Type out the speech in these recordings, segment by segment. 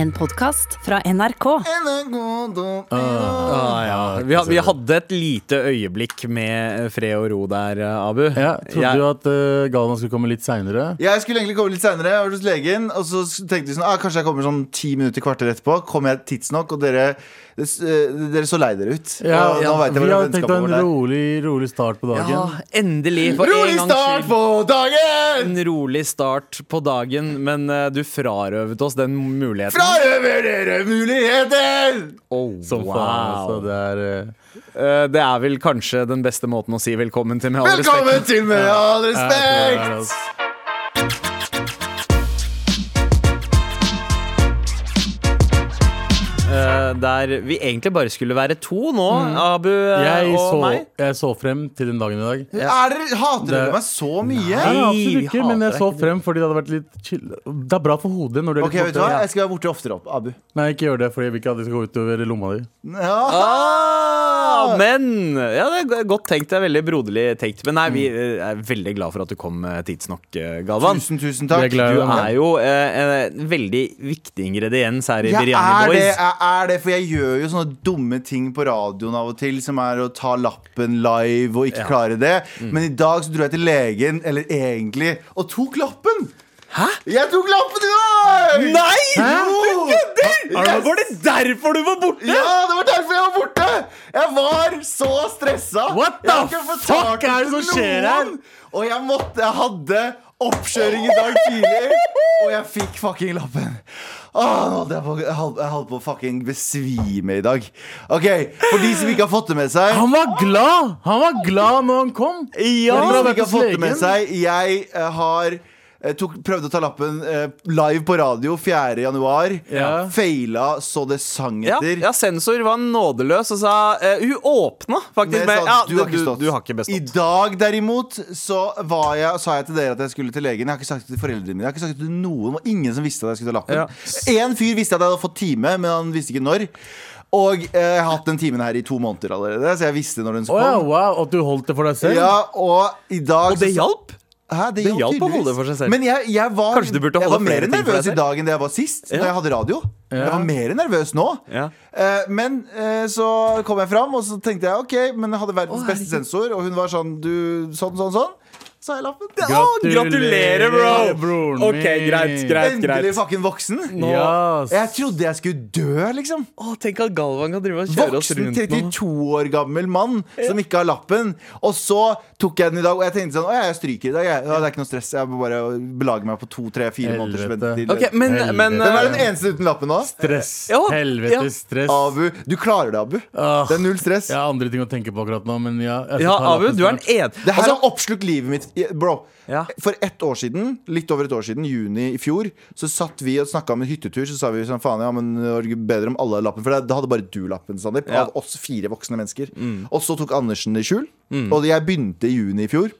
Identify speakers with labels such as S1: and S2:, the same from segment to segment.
S1: En podkast fra NRK.
S2: Ah, ja. vi, had- vi
S3: altså-
S2: hadde et lite øyeblikk med eh, fred og ro der, eh, Abu.
S3: Ja, trodde
S2: Jeg-
S3: du at eh, Galvan skulle komme litt seinere?
S4: Jeg skulle egentlig komme litt seinere. Jeg var hos legen, og så tenkte vi sånn ah, Kanskje jeg kommer sånn ti minutter kvarter etterpå. Kommer jeg tidsnok? Og dere, eh, dere så lei dere ut. og nå vet jeg
S3: vi
S4: hvordan
S3: har tenkt
S4: vennskapet
S3: en
S4: vårt er.
S3: rolig, rolig start på dagen.
S2: Ja, endelig. For
S4: Rolig
S2: en gangs
S4: start
S2: skyld.
S4: på dagen!
S2: En rolig start på dagen, men eh, du frarøvet oss den muligheten.
S4: Frarøver dere muligheter!
S2: Oh,
S3: Som faen, altså. Det er eh,
S2: Eh, Det er vel kanskje den beste måten å si velkommen til med all respekt.
S4: Velkommen til Med all
S3: jeg tror det er,
S4: respekt!
S3: altså.
S2: Eh, Der vi egentlig bare skulle være to nå, Abu eh,
S3: Mm. Jeg
S2: og
S3: så,
S2: meg.
S3: jeg så frem til den dagen i dag.
S4: Er dere, hater
S3: Det-
S4: dere meg så mye?
S3: Nei,
S2: vi
S3: absolutt ikke,
S2: hater
S3: men jeg
S2: deg
S3: så
S2: ikke.
S3: frem fordi det hadde vært litt chill. Det er bra for hodet når du er
S4: Ok,
S3: litt
S4: vet du hva?
S3: borte.
S4: Jeg skal være borte oftere, opp, Abu.
S3: Nei, ikke gjør det, for jeg vil ikke at det skal gå utover lomma di.
S4: Ja.
S2: Ah, men Ja, det er go- godt tenkt. Det er veldig broderlig tenkt. Men nei, vi eh, er veldig glad for at du kom eh, tidsnok, eh, Galvan.
S4: Tusen, tusen
S3: Vi
S4: takk.
S3: er glad i
S2: Du
S3: deg, mann.
S2: er jo eh, en veldig viktig ingrediens her i
S4: Jeg
S2: Biryani
S4: er det,
S2: Boys.
S4: jeg er det, for jeg gjør jo sånne dumme ting på radioen av og til, som er å ta lappen live og ikke klare det.
S2: Mm.
S4: Men i dag så dro jeg til legen, eller egentlig, og tok lappen!
S2: Hæ?
S4: Jeg tok lappen i dag!
S2: Nei!
S4: Jo!
S2: Yes! Var det derfor du var borte?
S4: Ja, det var derfor jeg var borte! Jeg var så stressa.
S3: What the
S4: Jeg har ikke fortalt
S3: fuck er det
S4: til
S3: som skjer her?
S4: noen. Og jeg måtte Jeg hadde oppkjøring i dag tidlig, og jeg fikk fucking lappen. Åh, nå hadde jeg, på, jeg, holdt, jeg holdt på å fucking besvime i dag. Ok, For de som ikke har fått det med seg
S3: Han var glad! Han var glad når han kom!
S4: For de
S3: Etter å ha
S4: som
S3: vært
S4: ikke har
S3: hos
S4: fått det med
S3: legen.
S4: seg Jeg eh, har eh, Tok, prøvde å ta lappen eh, live på radio 4. januar.
S3: Ja.
S4: Feila så det sang
S2: Ja,
S4: etter.
S2: ja, sensor var nådeløs og sa eh, Hun åpna faktisk
S4: Men
S2: med
S4: jeg sa,
S2: ja,
S4: sånn, du, har ikke
S2: du,
S4: bestått.
S2: du har ikke
S4: I
S2: bestått.
S4: dag derimot så var jeg, sa jeg til dere at jeg skulle til legen. Jeg har ikke sagt det til foreldrene mine. Jeg har ikke sagt det til noen. Det var ingen som visste at jeg skulle ta
S2: Ja.
S4: lappen. Én fyr visste at jeg hadde fått time, men han visste ikke når. Og eh, jeg har hatt den timen her i to måneder allerede, så jeg visste når den
S3: Å
S4: skulle
S3: ja,
S4: komme.
S3: wow, At du holdt det for deg selv?
S4: Ja, og i dag
S2: Og det hjalp.
S4: Hæ, det,
S2: det
S4: hjalp
S2: hjalp å holde
S4: tydeligvis.
S2: for seg selv.
S4: Men jeg, jeg var,
S2: Kanskje du burde
S4: jeg
S2: holde
S4: var mer
S2: flere ting for deg
S4: nervøs i
S2: selv?
S4: dag enn det jeg var sist,
S2: Ja.
S4: da jeg hadde radio. Jeg var mer nervøs nå.
S2: Ja.
S4: Eh, men eh, så kom jeg fram, og så tenkte jeg OK, men jeg hadde verdens beste sensor, og hun var sånn du, sånn, sånn, sånn. Så har jeg lappen. Det er
S2: Å, gratulerer, bro!
S3: broren
S2: Ok,
S3: min.
S2: greit, greit.
S4: endelig fucking voksen.
S3: Ja,
S4: Jeg trodde jeg skulle dø, liksom.
S2: Å, tenk at Galvan kan drive og kjøre oss
S4: Voksen,
S2: rundt nå.
S4: 32 år gammel mann som ikke har lappen. Og så tok jeg den i dag, og jeg tenkte sånn Å, jeg stryker i dag. Jeg, Å, det er ikke noe stress. Jeg må bare belage meg på to, tre, fire måneders
S3: Helvete.
S4: ventetid.
S2: Ok, men,
S3: Helvete.
S2: men
S4: Hvem er
S2: eh,
S4: den eneste uten lappen nå?
S3: Stress.
S2: Ja,
S3: Helvete,
S2: ja.
S3: stress.
S4: Abu. Du klarer det, Abu.
S3: Ah,
S4: Det er null stress.
S3: Jeg har andre ting å tenke på akkurat nå, men ja. jeg skal Altså, ta
S2: Ja,
S3: lappen
S2: Abu, du er
S3: snart.
S2: en ed...
S4: Det her
S2: Altså,
S4: har oppslukt livet mitt. I- Bro,
S2: Ja.
S4: For ett år siden, litt over et år siden, juni i fjor, så satt vi og snakka om en hyttetur. Så sa vi sånn faen, ja, men det var bedre om alle hadde lappen. For det- da hadde bare du lappen, Sandeep.
S2: Ja. Mm.
S4: Av oss fire voksne mennesker. Og så tok Andersen det i skjul. Og jeg begynte i juni i fjor.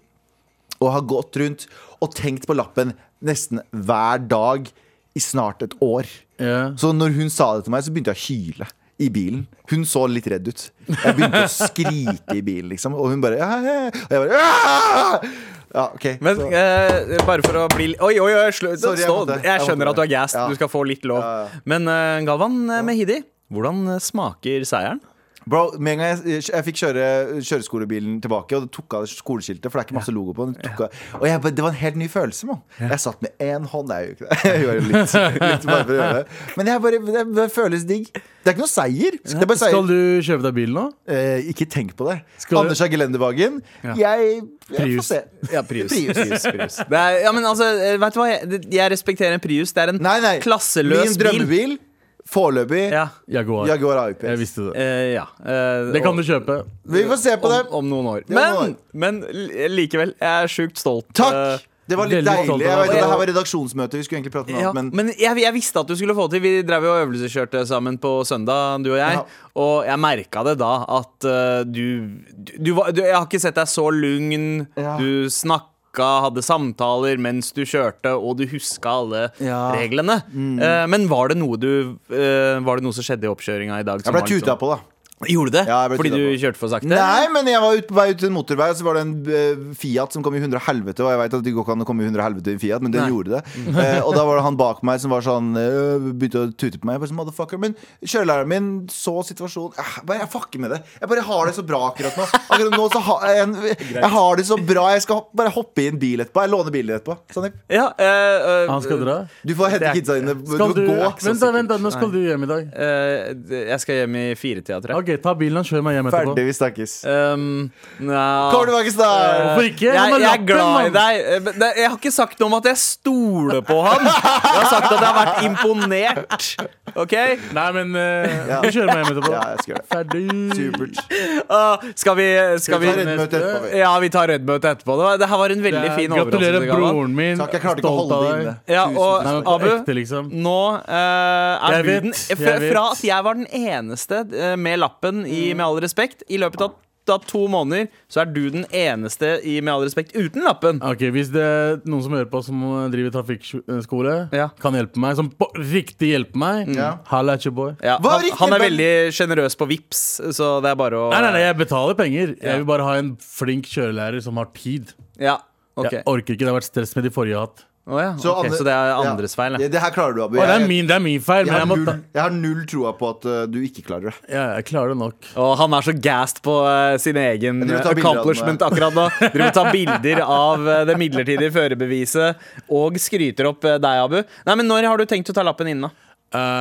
S4: Og har gått rundt og tenkt på lappen nesten hver dag i snart et år.
S3: Ja.
S4: Så når hun sa det til meg, så begynte jeg å hyle i bilen. Hun så litt redd ut. Jeg begynte å skrike i bilen, liksom. Og hun bare ja, ja. ja." Og jeg bare «Aah!» Ja, OK.
S2: men
S4: så,
S2: eh, bare for å bli li- Oi, oi, oi, slutt.
S4: Sorry, jeg
S2: Stå.
S4: måtte. Jeg
S2: Jeg
S4: måtte
S2: skjønner at du er gassed.
S4: Ja.
S2: Du skal få litt lov.
S4: Ja, ja.
S2: Men eh, Galvan eh, Mehidi, hvordan eh, smaker seieren?
S4: bro, med en gang jeg, jeg fikk kjøre kjøreskolebilen tilbake, og det tok av skoleskiltet, for det er ikke masse logo på den. det tok Av, og jeg, bare- det var en helt ny følelse, mann. Jeg satt med én hånd Nei, jeg gjorde ikke det. Jeg gjorde litt, litt bare for å gjøre det. Men jeg bare, det, det føles digg. Det er ikke noe seier. Det er bare seier.
S3: Skal du kjøpe deg bil nå?
S4: Eh, ikke tenk på det.
S3: Skal du-
S4: Anders er gelendervagen. Jeg, jeg får
S3: Prius.
S4: se.
S2: Ja, Prius. Det er, ja, men altså, eh, vet du hva? Jeg, det- jeg respekterer en Prius. Det er en
S4: Nei, nei.
S2: klasseløs
S4: Min
S2: bil.
S4: drømmebil foreløpig
S2: Ja,
S3: Jaguar.
S4: Jaguar AUP.
S3: Jeg visste det.
S2: eh, ja. eh,
S3: Det
S2: og-
S3: kan du kjøpe.
S4: Vi får se på det.
S2: om, om noen år.
S4: Det er noen
S2: Men, men li- likevel, jeg er sjukt stolt. eh,
S4: Takk! Det var litt
S3: veldig stolt av
S4: deilig.
S3: deg.
S4: Jeg vet, at det her var redaksjonsmøte. Vi skulle egentlig prate om noe
S2: Ja, men
S4: annet, men
S2: jeg, jeg visste at du skulle få til. Vi drev jo og øvelseskjørte sammen på søndag, du og jeg.
S4: Ja.
S2: Og jeg merka det da at eh, du, du, var, du Jeg har ikke sett deg så lugn.
S4: Ja.
S2: Du snakka, hadde samtaler mens du kjørte, og du huska alle
S4: Ja. Mm.
S2: reglene. Eh, men var det noe du eh, Var det noe som skjedde i oppkjøringa i dag? som
S4: jeg ble
S2: var
S4: tuta
S2: liksom-
S4: på, da.
S2: Gjorde du det?
S4: Ja, jeg ble
S2: Fordi du
S4: tulla
S2: kjørte for sakte?
S4: Nei, men jeg var ut på vei ut til en motorvei, og så var det en eh, Fiat som kom i hundre helvete. Og jeg vet at det går ikke an å komme i hundre helvete i en Fiat, men den
S2: Nei.
S4: gjorde det.
S3: Mhm.
S4: Eh, og da var det han bak meg som var sånn eh, begynte å tute på meg. Jeg bare sånn, motherfucker Men kjørelæreren min så situasjonen. Eh, bare, jeg fucker med det. Jeg bare har det så bra akkurat nå. Akkurat nå så ha, jeg, jeg har det så bra. Jeg skal bare hoppe i en bil etterpå. Jeg låner bilen etterpå. Sandeep.
S2: Ja, eh, eh,
S3: Han skal dra?
S4: Du får
S2: Det er
S4: hente kidsa dine. Du
S3: Skal
S4: får
S3: du,
S4: gå.
S2: så
S3: vent, da, vent da, nå skal du hjem i dag.
S2: eh, jeg skal hjem i firetida, tror jeg.
S3: Ok, Ta bilen og kjør meg hjem etterpå.
S4: Ferdig, vi snakkes.
S2: Um, nja.
S4: Kommer tilbake snart.
S3: Hvorfor ikke?
S2: Jeg,
S3: Han har
S2: jeg er
S3: lappen,
S2: glad i
S3: mann.
S2: deg. eh, men det- Jeg har ikke sagt noe om at jeg stoler på han. Jeg har sagt at jeg har vært imponert. Ok?
S3: Nei, men eh,
S4: Ja.
S3: du kjører meg hjem etterpå.
S4: Ja, jeg skal gjøre det.
S3: Ferdig.
S4: Supert.
S2: Ah, skal vi, skal vi
S4: Vi tar et møte etterpå. vi.
S2: Ja, vi tar rødmøte etterpå. Det, var, det her var en veldig
S3: Det er-
S2: fin overraskelse.
S3: Gratulerer,
S2: Galvan.
S3: broren min.
S4: Takk, jeg klarte ikke å
S3: Stolt
S4: holde det
S3: av deg.
S4: inne.
S2: Ja,
S4: Tusen
S2: og
S3: Nei, men på
S2: Abu,
S3: ekte, liksom.
S2: nå eh, er
S3: Jeg
S2: du
S3: vet,
S2: den f-
S3: jeg vet. Mm.
S2: Fra at jeg var den eneste eh, med lappen i Med all respekt, i løpet av, av to måneder, så er du den eneste i Med all respekt uten lappen.
S3: Ok, Hvis det er noen som hører på som driver trafikkskole,
S2: Ja.
S3: kan hjelpe meg, som på riktig hjelper meg,
S4: Ja.
S3: halla at your boy.
S2: Ja,
S4: Hva er
S2: han,
S4: riktig,
S2: han er
S4: men-
S2: veldig sjenerøs på VIPs så det er bare å
S3: Nei, nei, nei, jeg betaler penger.
S2: Eh, Ja.
S3: Jeg vil bare ha en flink kjørelærer som har tid.
S2: Ja, ok
S3: Jeg orker ikke, det har vært stress med de forrige jeg har hatt.
S2: Å ja,
S4: Så
S2: ok,
S4: andre-
S2: så det er
S4: ja.
S2: andres feil.
S4: Det,
S2: Ja.
S4: det her klarer du, Abu.
S3: Å, det, er
S4: Jeg-
S3: min, det er min feil,
S4: Jeg
S3: men
S4: har,
S3: jeg, må
S4: null,
S3: ta,
S4: jeg har null troa på at uh, du ikke klarer det.
S3: ja, jeg klarer det nok.
S2: Og han er så gassed på eh, sin egen
S4: Jeg driver og tar bilder av
S2: accomplishment akkurat nå. Driver og tar bilder av eh, det midlertidige førerbeviset og skryter opp eh, deg, Abu. Nei, men Når har du tenkt å ta lappen innen, da?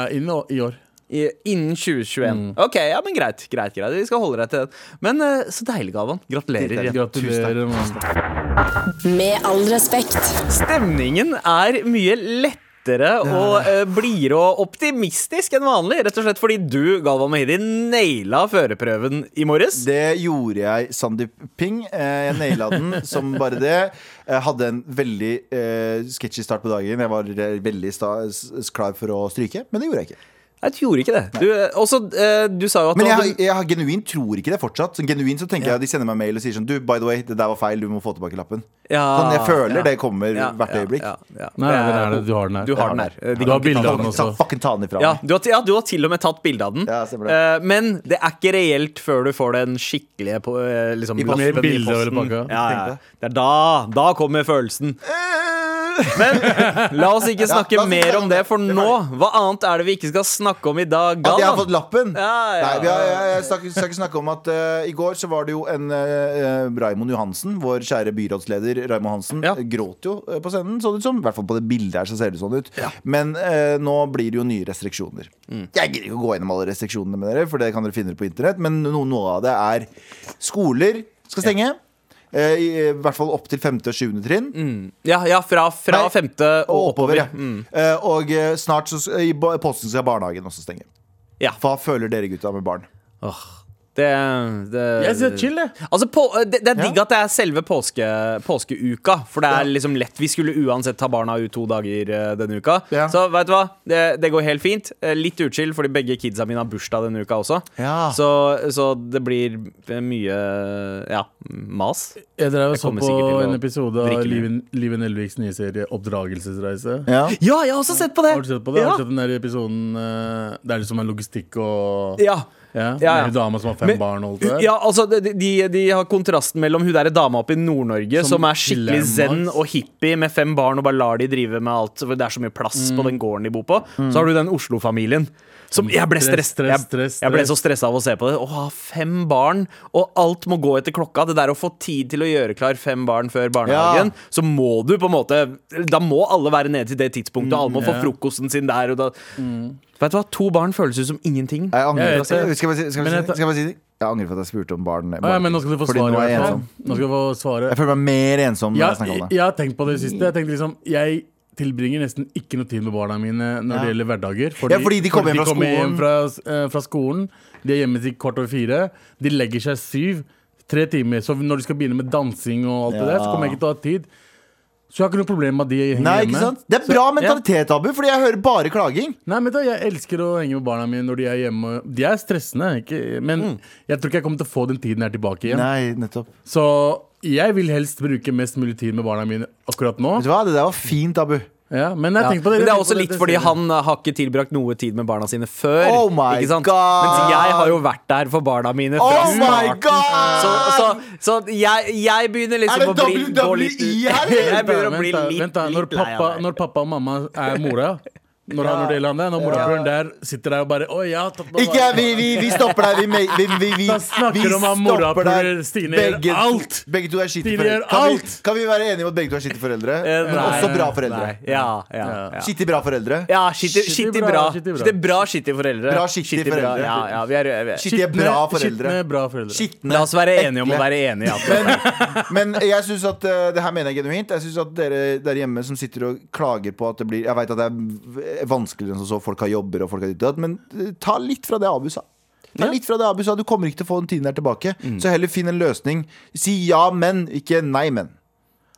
S3: Eh, innen å- i år.
S2: I, innen 2021. Mm. Ok, ja, men greit. greit, greit Vi skal holde deg til den. Men eh, så deilig, Galvan. Gratulerer. igjen.
S3: Gratulerer. mann.
S1: Med all respekt.
S2: Stemningen er mye lettere og eh, blidere og optimistisk enn vanlig. Rett og slett fordi du, Galvan Mahidi, naila førerprøven i morges.
S4: Det gjorde jeg, Sandeep Ping. Eh, Jeg naila den som bare det. Jeg hadde en veldig eh, sketchy start på dagen. Jeg var eh, veldig sta s s- klar for å stryke, men det gjorde jeg ikke.
S2: Jeg gjorde ikke det. Du, eh, også, eh, du sa jo at
S4: Men jeg, har-
S2: du,
S4: jeg har genuint tror ikke det fortsatt. Så genuint så tenker jeg at De sender meg mail og sier sånn Du, by the way, det der var feil. Du må få tilbake lappen.
S2: Ja,
S4: sånn, jeg føler
S2: ja.
S4: det kommer
S2: Ja,
S4: hvert
S2: ja,
S4: øyeblikk.
S2: ja, ja.
S3: Nei, nei, den er det. Du har den her.
S2: Du har den her. Eh,
S3: Du har
S2: de kan ikke ta
S3: bilde av
S2: den.
S3: den
S4: Ta,
S3: også.
S4: fucking ta den ifra
S2: Ja
S4: meg.
S2: du, har, ja, du har til og med tatt bilde av den.
S4: Ja, stemmer det.
S2: Eh, men det er ikke reelt før du får den skikkelige på, eh, liksom,
S4: I posten.
S2: lappen
S3: Med bilder
S2: i
S3: og hele
S2: posten.
S3: pakka.
S2: Ja, ja. Det er da, da kommer følelsen. Men la oss
S4: la
S2: ikke
S4: oss
S2: snakke
S4: ikke
S2: mer
S4: snakke
S2: om
S4: om
S2: det,
S4: det.
S2: for
S4: Det er
S2: nå Hva annet er det vi ikke skal snakke om i
S4: At
S2: dag?
S4: jeg har
S2: Galvan?
S4: fått lappen?
S2: Ja, ja.
S4: Nei, vi har, jeg, jeg skal, ikke- skal ikke snakke om at eh, i går så var det jo en uh, Raimond Johansen, vår kjære byrådsleder Raimond Hansen,
S2: Ja.
S4: gråt jo eh, på scenen, så det ut som. I hvert fall på det bildet her så ser det sånn ut. Men eh, nå blir det jo nye restriksjoner.
S2: Mm.
S4: Jeg gidder ikke å gå gjennom alle restriksjonene med dere, for det kan dere finne på internett, men no, noe av det er skoler skal stenge. eh, I, I hvert fall opp til femte og sjuende trinn.
S2: Ja, ja fra, fra
S4: Nei,
S2: femte
S4: Og
S2: Mm. og
S4: oppover,
S2: oppover. Mm.
S4: ja. Eh, og eh, snart så, i ba- posten skal barnehagen også stenge.
S2: Ja.
S4: Hva føler dere gutta med barn?
S2: Åh, det, det
S3: Jeg sier chill, jeg.
S2: Altså, på, det, det er digg
S4: Ja.
S2: at det er selve påske, påskeuka, for det er liksom lett. Vi skulle uansett ta barna ut to dager eh, denne uka.
S4: Ja.
S2: Så vet du hva, det, det går helt fint. Eh, Litt utskill, fordi begge kidsa mine har bursdag denne uka også.
S4: Ja.
S2: Så, så det blir eh, mye ja, mas.
S3: Jeg drev og så
S2: kommer
S3: på
S2: sikkert til å
S3: en episode av
S2: drikke mye.
S3: Liven, Liven Elviks nye serie 'Oppdragelsesreise'.
S4: Ja.
S2: Ja, jeg har også sett på det!
S3: Har du sett på det?
S2: Ja.
S3: Har du sett den der episoden eh, Det er liksom en logistikk og
S2: Ja.
S3: Ja,
S2: Ja, ja.
S3: Med dama som har fem
S2: Men-
S3: barn og alt det der.
S2: Ja, altså, de, de, de har kontrasten mellom hun derre dama oppe i Nord-Norge som,
S3: Som
S2: er skikkelig
S3: chiller,
S2: zen
S3: Max.
S2: og hippie med fem barn og bare lar de drive med alt, for det er så mye plass
S3: Mm.
S2: på den gården de bor på. Så har du den Oslo-familien. Som jeg ble
S3: Stress,
S2: stress,
S3: stress,
S2: jeg,
S3: stress,
S2: jeg ble så
S3: stress.
S2: stressa av å se på det. Å ha fem barn, og alt må gå etter klokka. Det der å få tid til å gjøre klar fem barn før barnehagen, så må du på en måte Da må alle være nede til det tidspunktet, og alle må
S3: Mm,
S2: få
S3: ja. Mm.
S2: frokosten sin der. Og da. Vet du hva, to barn føles ut som ingenting.
S4: Jeg angrer på
S3: Jeg vet
S4: at jeg,
S3: det.
S4: skal jeg, bare si- skal jeg,
S3: Men
S4: bare
S3: jeg
S4: si- skal jeg, bare si det? jeg angrer på at jeg spurte om barn.
S3: Ah, ja, men nå skal du få
S4: Fordi
S3: svaret.
S4: nå er jeg
S3: i hvert fall.
S4: ensom.
S3: Nå skal du få svaret.
S4: Jeg føler meg mer ensom når
S3: Ja,
S4: jeg snakker om det.
S3: jeg, jeg har tenkt på det siste. Jeg tenkte liksom Jeg tilbringer nesten ikke noe tid med barna mine når det gjelder hverdager.
S4: Ja, fordi de kommer hjem fra skolen.
S3: hjem fra, eh, fra skolen. De er hjemme til kvart over fire. De legger seg syv. Tre timer. Så når de skal begynne med dansing og alt det der, så kommer jeg ikke til å ha tid. Så jeg har ikke noe problem med at de henger
S4: Nei, ikke
S3: hjemme.
S4: sant? Det er bra mentalitet, Abu, fordi jeg hører bare klaging.
S3: Nei, men da, Jeg elsker å henge med barna mine når de er hjemme. De er stressende, ikke? men jeg tror ikke jeg kommer til å få den tiden her tilbake igjen.
S4: Mm. Nei, nettopp Vet
S3: Så jeg vil helst bruke mest mulig tid med barna mine akkurat nå.
S4: du hva, Det der var fint, Abu.
S3: Ja, men jeg
S2: Ja.
S3: tenkte på det.
S2: Men det
S3: jeg
S2: er
S3: tenkte
S2: også
S3: på
S2: litt
S3: det-
S2: fordi han eh, har ikke tilbrakt noe tid med barna sine før.
S4: Oh my
S2: ikke sant?
S4: God.
S2: Mens jeg har jo vært der for barna mine fra
S4: Oh my
S2: starten.
S4: God!
S2: Så, så, så jeg, jeg begynner
S4: Er
S2: liksom
S4: det
S2: å bli, gå
S4: WWE
S2: litt ut-
S4: her, eller?
S2: Jeg begynner å
S3: Vent
S2: bli
S3: da,
S2: litt,
S3: vent da, når,
S2: litt lei
S3: pappa,
S2: av det.
S3: når pappa og mamma er mora Når han når det gjelder han der Når morapuleren der sitter der og bare Oi, jeg har tatt meg
S4: Ikke, vi, vi, vi stopper der. Vi, vi, vi, vi, vi,
S3: Han snakker om at
S4: stopper
S3: morapuler,
S4: der.
S3: Stine gjør
S4: Begge-
S3: alt.
S4: Begge to er skitne
S3: Stine
S4: foreldre.
S3: gjør
S4: Kan vi,
S3: alt.
S4: kan vi være enige om at begge to er skitne foreldre?
S2: Eh,
S4: Men
S2: nei,
S4: også bra foreldre.
S2: Nei. Ja, ja, ja.
S4: Skittig bra foreldre.
S2: Ja, skittig
S3: Skittig
S2: skittig
S3: bra,
S2: bra.
S3: skittig bra.
S2: Skittig bra, skittig foreldre.
S4: Bra, skittig
S2: Skittig bra,
S4: foreldre.
S2: Ja, ja, vi er, vi er.
S4: Skittig er bra foreldre.
S3: Skitne, bra foreldre
S4: Skitne.
S2: La oss være enige om å
S4: ekle.
S2: være enige. i at-
S4: Men jeg synes at eh, det her mener jeg genuint. Jeg synes at dere der hjemme som sitter og klager på at det blir Jeg vet at det er vanskeligere enn som så, folk har jobber og folk har ditt og datt, men eh, ta litt fra det Abu sa. Ta litt fra det Abu sa. Du kommer ikke til å få den tiden der tilbake.
S2: Mm.
S4: Så heller finn en løsning. Si ja, men, ikke nei, men.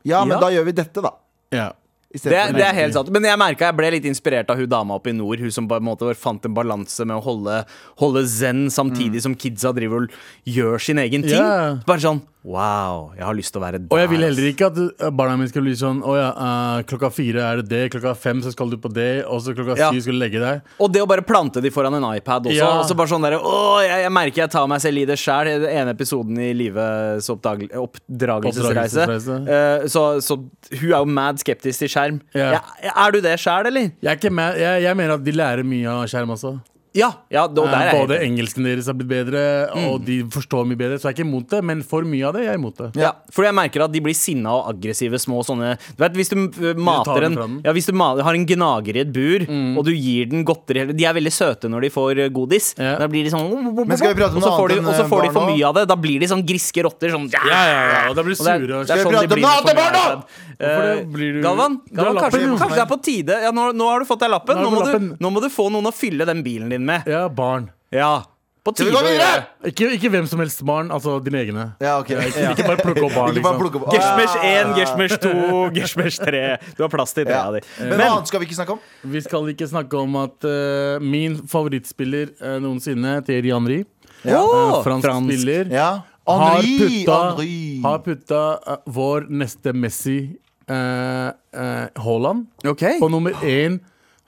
S4: Ja, men
S2: Ja.
S4: da gjør vi dette, da.
S3: ja.
S4: I
S2: Det,
S4: stedet for
S2: det er
S4: nei.
S2: helt sant. Men jeg merket jeg ble litt inspirert av hun dama oppe i nord. Hun som på en måte var- fant en balanse med å holde, holde zen samtidig som kidsa driver og gjør sin egen ting.
S3: Mm. Ja.
S2: Bare sånn Wow, jeg har lyst til å være der.
S3: Og jeg vil heller
S2: ass.
S3: ikke at uh, barna mine skal bli sånn Å ja, eh, klokka fire er det det Klokka fem så skal du på det Og så klokka
S2: Ja.
S3: syv skal du legge deg
S2: Og det å bare plante de foran en iPad også.
S3: Ja.
S2: Og så bare sånn der, Åh, jeg, jeg merker jeg tar meg selv i det sjæl. Den ene episoden i livets oppdag- oppdragelsesreise.
S3: Oppdragelsesreise.
S2: Eh, så, så hun er jo mad skeptisk til skjerm.
S3: Ja.
S2: Ja, er du det sjæl, eller?
S3: jeg, er ikke med, jeg, jeg mener at de lærer mye av skjerm også
S2: Ja. ja og der er
S3: Eh,
S2: jeg
S3: Både
S2: helt-
S3: engelsken deres har blitt bedre Og de forstår mye bedre Så jeg er ikke imot det Men for mye av det, jeg er imot det
S2: Ja. Fordi jeg merker at de blir sinna og aggressive små sånne Du vet, Hvis du øh,
S3: tar
S2: mater
S3: den
S2: en
S3: fra den. Mm.
S2: Ja, hvis du ma- har en gnager i et bur, og du gir den godteri eller- De er veldig søte når de får øh, godis.
S3: Ja.
S2: Da blir de sånn Men
S4: skal vi prate om noe annet enn,
S2: Og så
S4: øh,
S2: får de for
S4: barn nå?
S2: mye av det. Da blir de sånn griske rotter. Sånn ja,
S3: Ja, ja, ja, og da blir du
S2: Og det er-
S3: sure og
S2: det
S4: Skal vi
S2: er sånn
S4: prate om
S2: de
S4: noe
S2: blir litt
S4: annet enn
S2: for mye
S4: barn nå?
S2: av det.
S3: Hvorfor
S2: Eh,
S3: det blir du-
S2: Galvan,
S3: Du har
S2: Galvan
S3: lappen
S2: kanskje,
S3: hjemme hos
S2: kanskje det er på tide. Ja, nå, nå har du fått deg lappen.
S3: Nå har
S2: Nå
S3: du
S2: må, du,
S3: lappen.
S2: nå må du få noen å fylle den bilen din med.
S3: Ja, barn
S2: Ja. På
S4: vi
S2: tide.
S4: gå
S2: å gjøre
S4: videre?
S2: det.
S3: Ikke, ikke hvem som helst barn, altså dine egne.
S4: Ja, ok.
S3: ikke, ikke bare plukke opp barn,
S4: Ikke bare
S3: liksom.
S4: plukke opp.
S2: Gershmers 1, Gershmers 2, Gershmers 3. Du har plass til tre
S4: Ja.
S2: av dem.
S4: Men hva annet skal vi ikke snakke om?
S3: Vi skal ikke snakke om at eh, min favorittspiller eh, noensinne, Thierry Henry,
S4: Ja.
S2: Åh,
S3: eh, fransk, spiller,
S4: Ja.
S3: har
S4: Henri!
S3: putta,
S4: Henri.
S3: har putta eh, vår neste Messi, eh, eh, Haaland,
S2: Ok.
S3: på nummer én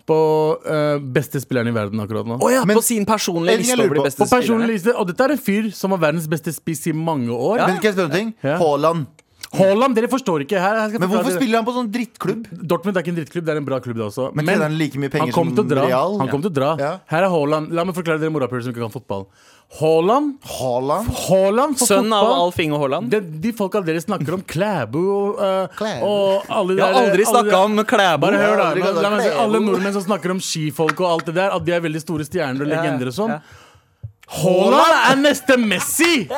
S3: på eh, beste spilleren i verden akkurat nå.
S2: Å ja,
S4: Men-
S2: på sin personlige
S4: En ting
S2: liste
S4: jeg lurer
S2: over de
S4: på.
S2: beste
S3: På personlig
S2: spillerne.
S3: liste, og dette er en fyr som var verdens beste spiss i mange år.
S4: Men kan jeg spørre om en ting?
S3: Ja.
S4: Haaland.
S3: Haaland, dere forstår ikke her. her skal jeg
S4: Men hvorfor
S3: forklare dere.
S4: spiller han på sånn drittklubb?
S3: Dortmund er ikke en drittklubb, det er en bra klubb det også.
S4: Men tjener han like mye penger
S3: han
S4: som
S3: kom til å dra.
S4: Real?
S3: Han kom til å dra.
S4: Ja.
S3: Her er Haaland. La meg forklare dere morapulere som ikke kan fotball. Haaland
S4: Haaland?
S3: Haaland for
S2: Sønn av
S3: fotball.
S2: Alf Inge Haaland.
S3: de, de folka dere snakker om, Klæbu og, eh,
S4: Klæbu.
S3: og alle de
S2: Jeg har
S3: der-
S2: aldri
S3: alle de-
S2: snakka om Klæbo.
S3: Bare hør, da.
S4: Jeg har aldri
S3: Men, la meg si,
S4: Klæbu.
S3: alle nordmenn som snakker om skifolk og alt det der, at de er veldig store stjerner og
S2: Ja, ja,
S3: legender og sånn.
S2: ja.
S3: Haaland er neste Messi!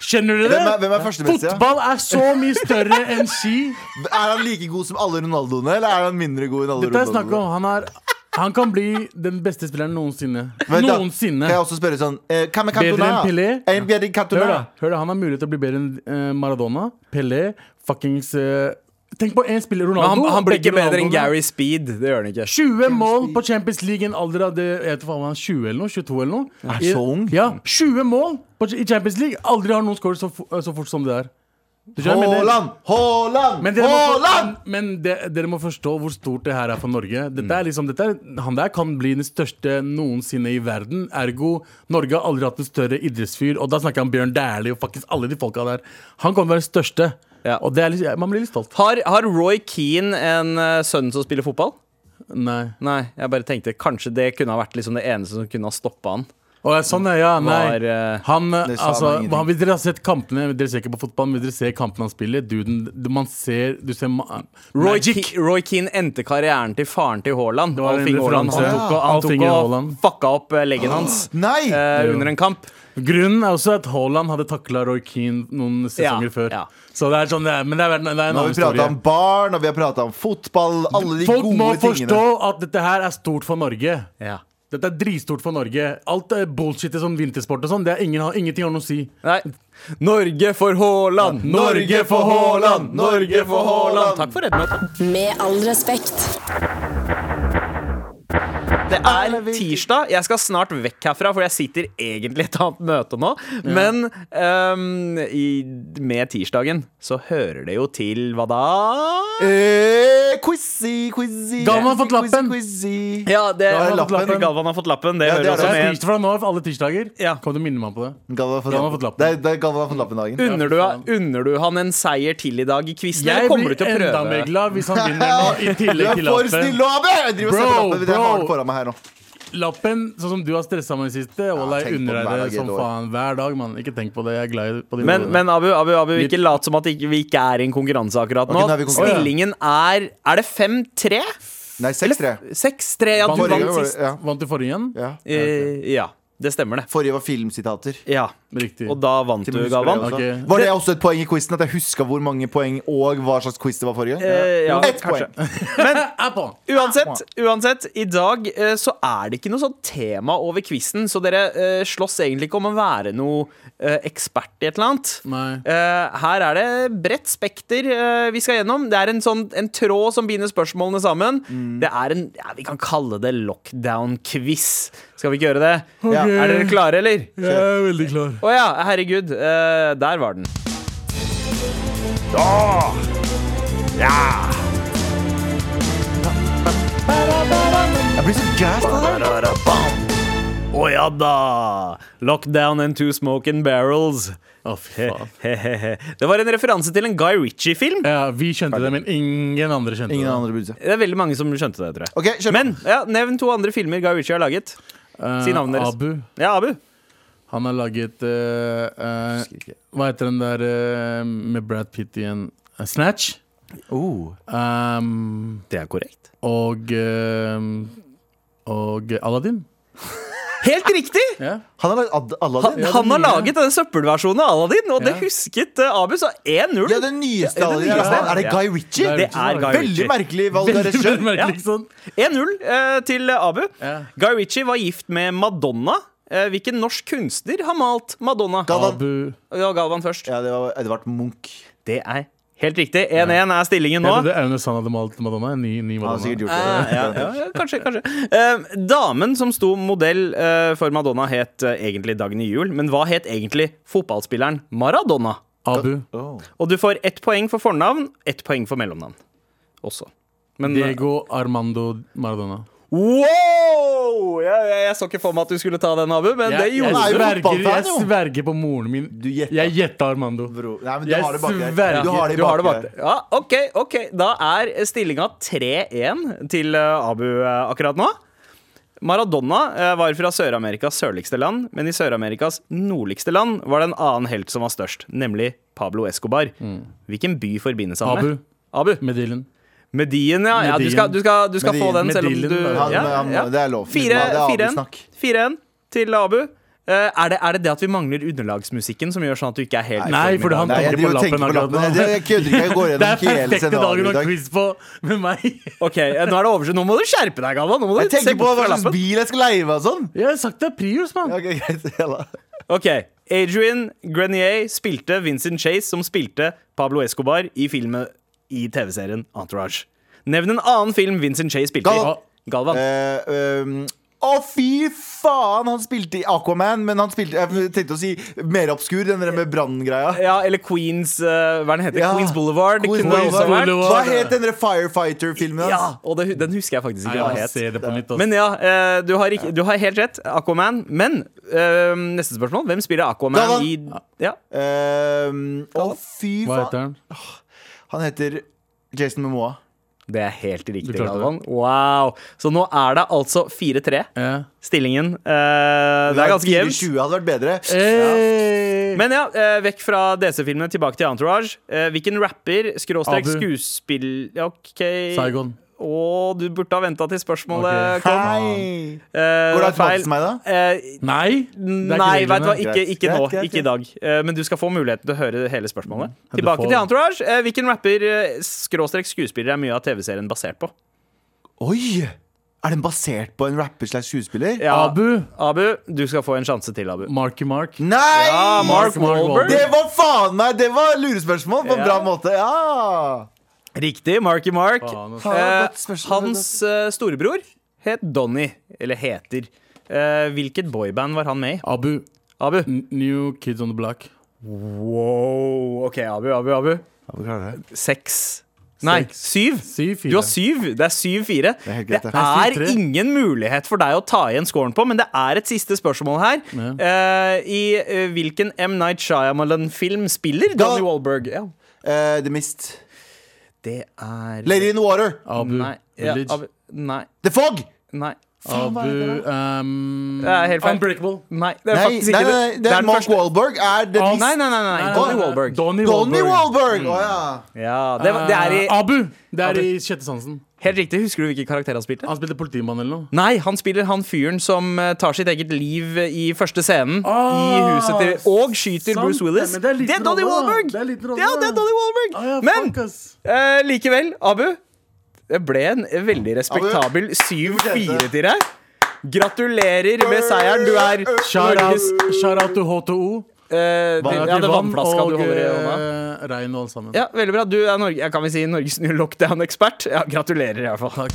S3: Skjønner dere?
S4: Hvem er- hvem er første Messi, ja?
S3: Fotball er så mye større enn ski.
S4: Er han like god som alle Ronaldoene, eller er han mindre god enn alle
S3: Dette er snakk
S4: Ronaldoene?
S3: om han, er, han kan bli den beste spilleren noensinne.
S4: Vent da,
S3: Noensinne.
S4: Kan jeg også spørre sånn eh, Hvem er
S3: Bedre
S4: Cantona?
S3: enn Pelé?
S4: En bedre enn Cantona?
S3: Hør da, hør da, Han har mulighet til å bli bedre enn eh, Maradona, Pelé, fuckings eh, Tenk på én spiller,
S2: Men
S3: Ronaldo.
S2: Han, han blir
S3: begge
S2: ikke bedre enn
S3: Ronaldoene.
S2: Gary Speed. Det gjør han ikke.
S3: 20 mål på Champions League i en alder av det, jeg vet ikke faen, om han er 20 eller noe, 22 eller noe.
S4: Er så ung.
S3: Ja, 20 mål på, i Champions League! Aldri har noen scoret så, fo- så fort som det der. Du skjønner hva jeg mener?
S4: Haaland! Haaland!
S3: Men, dere må,
S4: Haaland!
S3: men de, dere må forstå hvor stort det her er for Norge. Dette er liksom, dette er, han der kan bli den største noensinne i verden. Ergo Norge har aldri hatt en større idrettsfyr. Og da snakker jeg om Bjørn Dæhlie og faktisk alle de folka der. Han kommer til å være den største.
S2: Ja.
S3: Og det er litt, man blir litt stolt.
S2: Har, har Roy Keane en eh, sønn som spiller fotball?
S3: Nei.
S2: Nei, jeg bare tenkte kanskje det kunne ha vært liksom det eneste som kunne ha stoppa han.
S3: Å, ja, sånn, ja. Nei.
S2: Var, eh,
S3: han, eh,
S4: Det sa
S3: altså,
S4: meg ingenting.
S3: han, hvis dere har sett kampene Dere ser ikke på fotball, men dere ser kampene han spiller. Duden, du- man ser, du ser ma
S2: Roy,
S3: Magic.
S2: Ke Roy Keane endte karrieren til faren til Haaland.
S3: var
S2: Alf
S3: en
S2: Inge Haaland. Han
S3: referanse.
S2: tok og, han
S3: Alf Inge
S2: tok og
S3: Haaland.
S2: fucka opp eh, leggen hans
S4: Nei!
S2: eh,
S3: Jo.
S2: under en kamp.
S3: Grunnen er også at Haaland hadde takla Roy Keane noen sesonger
S2: Ja,
S3: før.
S2: ja.
S3: Så det er sånn det er, men det er, det er en
S4: Nå har
S3: annen
S4: vi prata
S3: historie.
S4: om barn, og vi har prata om fotball. Alle de
S3: Folk må
S4: gode
S3: forstå
S4: tingene.
S3: at dette her er stort for Norge. Dette er dritstort for Norge. Alt det bullshitet som vintersport og sånn, det er ingen, har ingenting har noe å si.
S2: Nei. Norge for Haaland!
S3: Norge for Haaland! Norge for Haaland!
S2: Takk for et møte.
S1: Med all respekt.
S2: Det er tirsdag. Jeg skal snart vekk herfra, for jeg sitter egentlig i et annet møte nå. Men ehm, i, med tirsdagen så hører det jo til hva da?
S4: Eh, Quizzy, quizzy
S3: Galvan har fått
S4: quizzy,
S3: lappen.
S4: quizzy.
S2: Ja, det
S4: Da har jeg
S2: Galvan har fått
S4: lappen.
S2: Galvan har fått lappen. Det
S4: Ja, det
S2: hører
S4: er
S2: også
S4: det.
S3: Det er
S2: med.
S3: tirsdag fra nå av, alle tirsdager.
S2: Ja.
S3: Kan du minne meg på det?
S4: Galvan har fått
S3: Galvan har
S4: lappen.
S3: fått lappen.
S4: Det, er- det er Galvan har fått lappen dagen.
S2: Unner du, unner du han en seier til i dag i quizen, eller
S3: Jeg
S2: kommer du
S3: blir
S2: til å
S3: enda mer
S2: prøve?
S3: glad hvis han vinner nå, i
S4: Du
S3: tillegg
S4: er
S3: til
S4: for
S3: lappen.
S4: snill, Abe! Jeg driver og
S3: Bro,
S4: setter lappen. Det er
S3: bro.
S4: hardt foran meg her nå.
S3: Lappen, sånn som du har stressa med i det siste. Og jeg
S4: tenk på den
S3: unner
S4: hver
S3: deg
S4: dag,
S3: det som
S4: et år.
S3: faen hver dag, mann. Ikke tenk på det. Jeg er glad i- på dine
S2: Men,
S3: ord.
S2: men Abu, Abu, Abu, ikke lat som at ikke- vi ikke er i en konkurranse akkurat nå.
S4: Ok, nå er vi i konkurranse.
S2: Stillingen er Er det 5-3?
S4: Nei, 6-3.
S2: 6-3, ja. Du
S3: Forrige
S2: vant
S4: gang var det-
S2: sist.
S4: ja.
S3: Vant du forrige igjen?
S4: Ja.
S2: Eh, ja. Det stemmer, det.
S4: Forrige var filmsitater.
S2: Ja.
S3: Riktig.
S2: Og da vant
S4: Til
S2: du,
S4: musikere
S2: Galvan.
S4: også.
S3: Ok.
S4: Var det også et poeng i quizen? At jeg huska hvor mange poeng og hva slags quiz det var forrige gang?
S2: Eh, ja,
S4: Ett
S2: kanskje.
S4: poeng.
S3: er på!
S2: Uansett, uansett, i dag eh, så er det ikke noe sånn tema over quizen, så dere eh, slåss egentlig ikke om å være noe eh, ekspert i et eller annet.
S3: Nei.
S2: Eh, her er det bredt spekter eh, vi skal gjennom. Det er en, sånn, en tråd som binder spørsmålene sammen. Det er en ja, Vi kan kalle det lockdown-quiz. Skal vi ikke gjøre det?
S4: Ja.
S2: Er dere klare, eller? Å
S3: Jeg er veldig klar.
S2: ja, herregud. eh, der var den.
S4: Jeg blir så gassed av det.
S2: Å ja da! Lockdown and two smoking barrels.
S3: Å, fy faen.
S2: Hehehe. Det var en referanse til en Guy Ritchie-film.
S3: Ja, vi skjønte det, men ingen andre skjønte
S4: Ingen
S3: det.
S4: andre brydde seg.
S2: Det er veldig mange som skjønte det, tror jeg.
S4: Ok, kjør.
S2: Men ja, nevn to andre filmer Guy Ritchie har laget.
S3: Eh,
S2: Si navnet deres.
S3: Abu.
S2: Ja, Abu.
S3: Han har laget eh, eh, Hva heter den der eh, med Brad Pitt igjen? Eh, Snatch.
S4: Oh.
S3: Um,
S2: Det er korrekt.
S3: og ehm, Og Aladdin.
S2: Helt riktig!
S3: Ja.
S4: Han har lagd Ad-
S2: Han,
S4: Aladdin.
S2: han har laget denne søppelversjonen av Aladdin, og det
S3: Ja.
S2: husket eh, Abu, så 1-0.
S4: Ja, den nyeste
S2: Ja, den
S4: Aladdin.
S2: nyeste.
S4: Er det Guy Ritchie?
S2: Det er
S4: Veldig
S2: Guy
S4: Sånn.
S2: Ritchie.
S4: merkelig valg av regissør.
S3: Merkelig,
S2: Ja.
S3: liksom.
S2: 1-0 eh, til Abu.
S3: Ja.
S2: Guy Ritchie var gift med Madonna. Eh, hvilken norsk kunstner har malt Madonna?
S4: Galvan.
S3: Abu.
S2: Ja, Galvan først.
S4: Ja, det var Edvard Munch.
S2: Det er helt riktig. 1-1 er stillingen nå.
S3: Er det Aune Sand hadde malt Madonna? En ny, ny
S4: Han har
S3: Madonna.
S4: sikkert gjort
S2: Ja,
S4: det.
S2: Ah, ja, ja, kanskje, kanskje. Eh, damen som sto modell eh, for Madonna, het eh, egentlig Dagny Juel. Men hva het egentlig fotballspilleren Maradona?
S3: Abu.
S4: Oh.
S2: Og du får ett poeng for fornavn, ett poeng for mellomnavn også. Men eh,
S3: Diego Armando Maradona.
S2: Wow! Jeg, jeg, jeg så ikke for meg at du skulle ta den, Abu, men det
S3: Jeg, jeg,
S2: gjorde
S4: Nei,
S2: du.
S3: sverger,
S4: fotballfan,
S3: jeg
S4: jo.
S3: sverger på moren min.
S4: Du gjettet.
S3: Jeg gjetta Armando.
S4: Bro. Nei, men du
S3: Jeg
S4: har det bak der.
S3: sverger.
S4: Du har det i
S3: Du har det
S4: bak
S3: bak
S4: der.
S2: Ja, OK, ok. Da er stillinga 3-1 til eh, Abu eh, akkurat nå. Maradona eh, var fra Sør-Amerikas sørligste land, men i Sør-Amerikas nordligste land var det en annen helt som var størst, nemlig Pablo Escobar. Hvilken by forbindes han med?
S3: Mm. Abu.
S2: Abu.
S3: Medillen.
S2: Medien, ja. ja du
S3: Medellin.
S2: skal, du skal, du skal få
S4: Medellin.
S2: den selv om
S3: Medellin,
S2: du
S3: ja.
S2: ja,
S4: Han-
S2: ja.
S4: han- det er lov.
S2: Fire-
S4: Det er Abus
S2: 4-1
S4: snakk.
S2: 4-1 til Abu. Eh, Er det, er det det at vi mangler underlagsmusikken som gjør sånn at du ikke er helt
S3: Nei, for han
S4: Nei, jeg
S3: tenker på
S4: driver og tenker
S3: lappen
S4: på
S3: akkurat
S4: lappen.
S3: nå.
S4: Nei, det- Jeg kødder ikke. Jeg går
S3: Det er
S4: gjennom hele
S3: perfekte dagen å
S4: scenarioet i
S3: ha
S4: dag.
S3: quiz på med meg.
S2: Ok, eh, Nå er det overstyrt. Nå må du skjerpe deg, Galvan. Nå må du
S4: Jeg tenker
S2: se
S4: på
S2: bort
S4: hva
S2: fra
S4: slags
S2: lappen.
S4: bil jeg skal leie meg og sånn.
S3: Jeg har sagt det er Prius, mann.
S4: Ja, ok, greit. Jalla.
S2: Ok, Adrian Grenier spilte Vincent Chase, som spilte Pablo Escobar i filmen i TV-serien Entourage. Nevn en annen film Vincent Chase spilte
S4: Galvan.
S2: i. Galvan.
S4: Eh, ehm, Å, fy faen! Han spilte i Aquaman, men han spilte Jeg tenkte å si mer obskur, den der med branngreia.
S2: Ja, eller Queens eh, Hva er den heter?
S4: Ja.
S2: Queens Boulevard.
S4: Queens
S2: kunne det også
S4: Boulevard.
S2: vært.
S4: Hva het den der firefighter-filmen hans?
S2: Ja, og det, den husker jeg faktisk ikke hva
S3: Jeg
S2: het.
S3: ser det på nytt. altså. ass.
S2: Men ja, eh, du har, ikke, du har helt rett. Aquaman. Men eh, neste spørsmål. Hvem spiller Aquaman
S4: Galvan.
S2: i ja.
S4: Ehm, Å, fy
S3: Hva heter
S4: faen.
S3: han?
S4: Han heter Jason Memoa.
S2: Det er helt riktig,
S3: Du klarte det.
S2: Galvan. Wow. Så nå er det altså 4-3.
S3: Ja.
S2: Stillingen. eh, det er ganske jevnt. Eh,
S4: 20 hadde vært bedre.
S3: Hey.
S2: Men ja, eh, vekk fra DC-filmene, tilbake til Entourage. Eh, hvilken rapper, skråstrek
S3: Abu.
S2: skuespill... ja, OK
S3: Saigon.
S2: Å, du burde ha venta til spørsmålet
S3: Ok.
S2: kom.
S4: Hei.
S2: Eh,
S4: Går det
S2: feil.
S4: automatisk til meg, da?
S2: Eh,
S3: Nei! det er ikke
S2: Nei, vet du
S3: reglene.
S2: hva, ikke,
S4: Greit.
S2: ikke nå.
S4: Greit, greit,
S2: ikke i dag. Eh, Men du skal få muligheten til å høre hele spørsmålet.
S3: du
S2: Tilbake
S3: får-
S2: til Entourage. Eh, Hvilken rapper, eh, skråstrek skuespiller, er mye av TV-serien basert på?
S4: Oi! Er den basert på en rapper slash skuespiller?
S2: Ja,
S3: Abu.
S2: Abu, du skal få en sjanse til, Abu.
S3: Marky Mark.
S4: Nei!
S2: Ja, Mark Wahlberg.
S4: Det var faen meg Det var lurespørsmål på en
S2: Ja.
S4: bra måte. Ja!
S2: Riktig. Marky Mark.
S3: Faen, ass.
S2: Eh,
S4: Godt spørsmål.
S2: Hans eh, storebror het Donny, eller heter. Eh, hvilket boyband var han med i?
S3: Abu,
S2: Abu?
S3: n- New Kids on the Block.
S2: Wow. OK, Abu, Abu, Abu.
S4: Abu klarer det.
S2: Seks. Nei,
S3: Seks.
S2: syv.
S3: Syv, fire.
S2: Du har syv. Det er syv-fire.
S4: er helt
S2: Det
S4: greit, det.
S3: Jeg sier
S2: er
S3: tre.
S2: ingen mulighet for deg å ta igjen scoren på, men det er et siste spørsmål her. Eh, I eh, hvilken M. Night Shyamalan-film spiller Donny Wahlberg? Ja.
S4: Eh, The Mist.
S2: Det er
S4: Lady in the Water.
S3: Abu
S2: Nei. Ja,
S3: Village.
S2: Abu. Nei.
S4: The Fog!
S2: Nei.
S3: Abu um,
S2: Det er helt feil.
S3: Unbreakable.
S2: Nei, det er
S4: Nei,
S2: faktisk
S4: nei,
S2: ikke
S4: nei, nei, det er
S2: den
S4: Mark
S2: første.
S4: Wahlberg. Er The Mist.
S2: Nei, nei, nei,
S3: Nei,
S2: nei, Donny
S3: nei, nei.
S2: Wahlberg.
S3: Donny
S4: Donny
S3: Wahlberg.
S4: Wahlberg! Å ja.
S2: Ja, det, var- det er i
S3: Eh, Abu! Det er
S2: Abu.
S3: i Sjette sansen.
S2: Helt riktig. Husker du hvilken karakter han spilte?
S3: Han spilte politimann eller noe.
S2: Nei, han spiller han fyren som eh, tar sitt eget liv eh, i første scenen.
S3: Ah,
S2: I huset til Og skyter
S3: sant
S2: Bruce
S3: det,
S2: Willis.
S3: men
S2: Det
S3: det er
S2: er,
S3: liten
S2: Donny
S3: rolle, da.
S2: Wahlberg!
S3: Det er liten rolle.
S2: Ja, det er Donny Wahlberg.
S3: Ah, ja,
S2: Men
S3: fuck, ass.
S2: eh, likevel, Abu. Det ble en veldig respektabel 7-4 til deg. Gratulerer med seieren. Du er eh,
S3: Shout out,
S2: Norges
S3: shout out til H2O.
S2: eh, til- Ja, det er vannflaska du holder i hånda.
S3: eh, Rein og alle sammen.
S2: Ja, veldig bra. Du er Norge, jeg kan vel si Norges nye lockdown-ekspert. Ja, gratulerer, i hvert fall.
S3: Takk.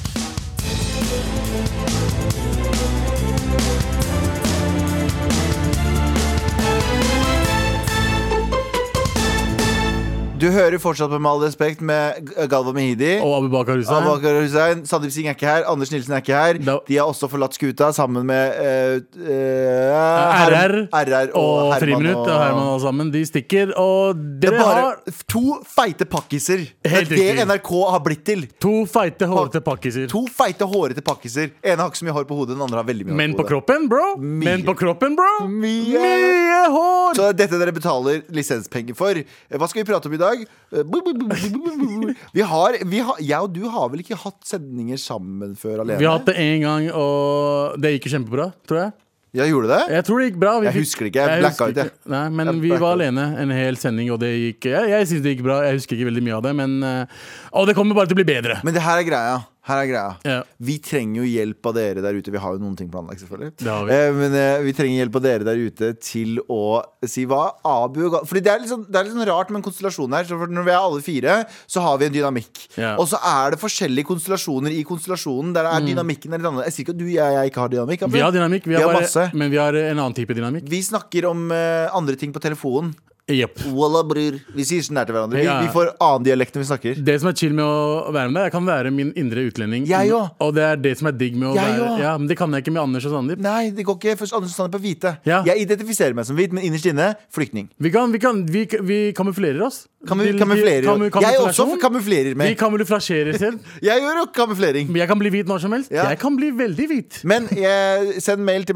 S4: Du hører fortsatt på Med all respekt med Galva Mehidi.
S3: Og Abu Bakar Hussein.
S4: Abakar Hussein, Sandeep Singh er ikke her, Anders Nilsen er ikke her.
S3: Da-
S4: De har også forlatt skuta sammen med eh, eh,
S3: RR,
S4: RR og,
S3: og
S4: Herman
S3: Friminutt og Herman alle sammen. De stikker, og
S4: Det er
S3: dere
S4: bare
S3: har
S4: f- to feite pakkiser. Det er
S3: Helt
S4: det
S3: riktig.
S4: NRK har blitt til.
S3: to feite, hårete pakkiser.
S4: To feite, hårete pakkiser. Ene har ikke så mye hår på hodet, den andre har veldig mye
S3: Menn
S4: hår på
S3: på
S4: hodet.
S3: kroppen, bro! Menn på kroppen, bro!
S4: Mye.
S3: Mye hår!
S4: Så det er dette dere betaler lisenspenger for. Eh, Hva skal vi prate om i dag? Eh, bu- bu- bu- bu- bu- bu- bu. Vi har, vi har, jeg og du har vel ikke hatt sendinger sammen før alene?
S3: Vi har hatt det én gang, og det gikk jo kjempebra, tror jeg.
S4: Jeg gjorde det?
S3: Jeg tror det gikk bra. vi
S4: Jeg husker det ikke, jeg
S3: husker
S4: blackout, jeg.
S3: ikke. Nei, men
S4: Jeg
S3: vi var
S4: blackout.
S3: alene en hel sending, og det gikk Jeg, jeg syns det gikk bra. Jeg husker ikke veldig mye av det, men eh, Og det kommer bare til å bli bedre.
S4: Men det her er greia. Her er greia.
S3: Ja.
S4: Vi trenger jo hjelp av dere der ute. Vi har jo noen ting planlagt, selvfølgelig.
S3: Det har vi.
S4: Eh, men eh, vi trenger hjelp av dere der ute til å si hva Abu og Gal... Fordi det er litt sånn, det er litt sånn rart med en konstellasjon her. Så for når vi er alle fire, så har vi en dynamikk.
S3: Ja. Mm.
S4: Og så er det forskjellige konstellasjoner i konstellasjonen. Der er dynamikken er litt annerledes. Jeg sier ikke at du og jeg, jeg ikke har dynamikk. Abu.
S3: Vi har dynamikk, vi
S4: Vi
S3: har
S4: har
S3: bare,
S4: masse.
S3: men vi har en annen type dynamikk.
S4: Vi snakker om eh, andre ting på telefonen.
S3: Jepp.
S4: Walla, bror. Vi sier sånn der til hverandre. Vi,
S3: Ja.
S4: vi får annen dialekt når vi snakker.
S3: Det som er chill med å være med deg, jeg kan være min indre utlending.
S4: Jeg òg.
S3: Og det er det som er digg med å
S4: Jeg
S3: være
S4: òg.
S3: Ja, men Det kan jeg ikke med Anders og Sandeep.
S4: Nei, det går ikke. Først Anders Sandeep er hvite.
S3: Ja.
S4: Jeg identifiserer meg som hvit, men innerst inne flyktning.
S3: Vi, kan, vi, kan, vi, vi kamuflerer oss.
S4: Kamu,
S3: Til-
S4: kamuflerer.
S3: til- kamu-
S4: jeg også
S3: kamuflasjon.
S4: kamuflerer
S3: Vi
S4: meg.
S3: kamuflasjerer selv.
S4: Jeg gjør også kamuflering.
S3: Men Jeg kan bli hvit når som helst.
S4: Ja.
S3: Jeg kan bli veldig hvit.
S4: Men eh, send mail til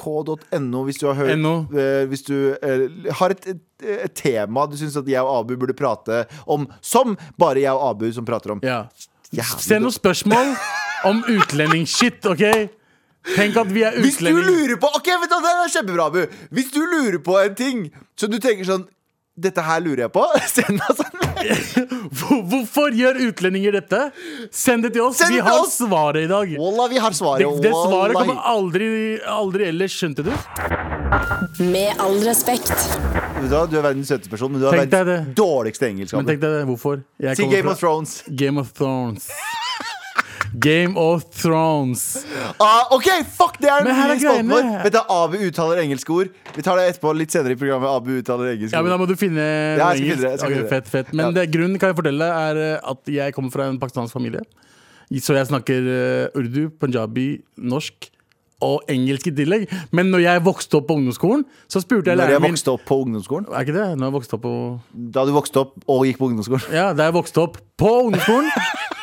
S4: mar.nrk.no hvis du har hørt
S3: NO.
S4: eh, Hvis du eh, har et, et, et tema du syns at jeg og Abu burde prate om, som bare jeg og Abu som prater om.
S3: Ja.
S4: Jævlig
S3: Send noen
S4: godt.
S3: spørsmål om utlendingshit, OK? Tenk at vi er
S4: Hvis du
S3: utlendinger.
S4: lurer på Ok, vet du, hva, det er kjempebra, Abu. Hvis du lurer på en ting så du tenker sånn Dette her lurer jeg på. Send oss en mail.
S3: Hvor- Hvorfor gjør utlendinger dette? Send det til oss.
S4: Send det
S3: Vi
S4: til
S3: har
S4: oss.
S3: svaret i dag.
S4: Wallah, vi har svaret.
S3: Det, det svaret
S4: Wallahi.
S3: kommer aldri, aldri ellers, skjønte du?
S1: Med all respekt.
S4: Vet du hva, du er verdens søteste person, men du har
S3: Tenk deg
S4: verdens
S3: det.
S4: dårligste engelsk.
S3: Men
S4: Abu.
S3: tenk deg det, hvorfor? Jeg
S4: Si
S3: kommer
S4: Game
S3: fra-
S4: of Thrones.
S3: Game of Thrones. Game of Thrones.
S4: Ah, OK, fuck, det er den
S3: Men her er
S4: nye spalten
S3: greiene.
S4: vår. Vet du, Abu uttaler engelske ord. Vi tar det etterpå, litt senere i programmet. Abu uttaler engelske
S3: Ja, men Da
S4: ord.
S3: må du finne
S4: Ja,
S3: noe
S4: jeg skal finne det, jeg
S3: engelsk.
S4: skal
S3: Ok,
S4: finne det.
S3: fett, fett. Men
S4: Ja.
S3: det, grunnen kan jeg fortelle er eh, at jeg kommer fra en pakistansk familie. Så jeg snakker eh, urdu, punjabi, norsk og engelsk i tillegg. Men når jeg vokste opp på ungdomsskolen, så spurte jeg
S4: Når jeg
S3: læreren min
S4: vokste opp på ungdomsskolen
S3: Er ikke det? Når jeg vokste opp på
S4: Da du vokste opp og gikk på ungdomsskolen.
S3: Ja, da jeg vokste opp på ungdomsskolen.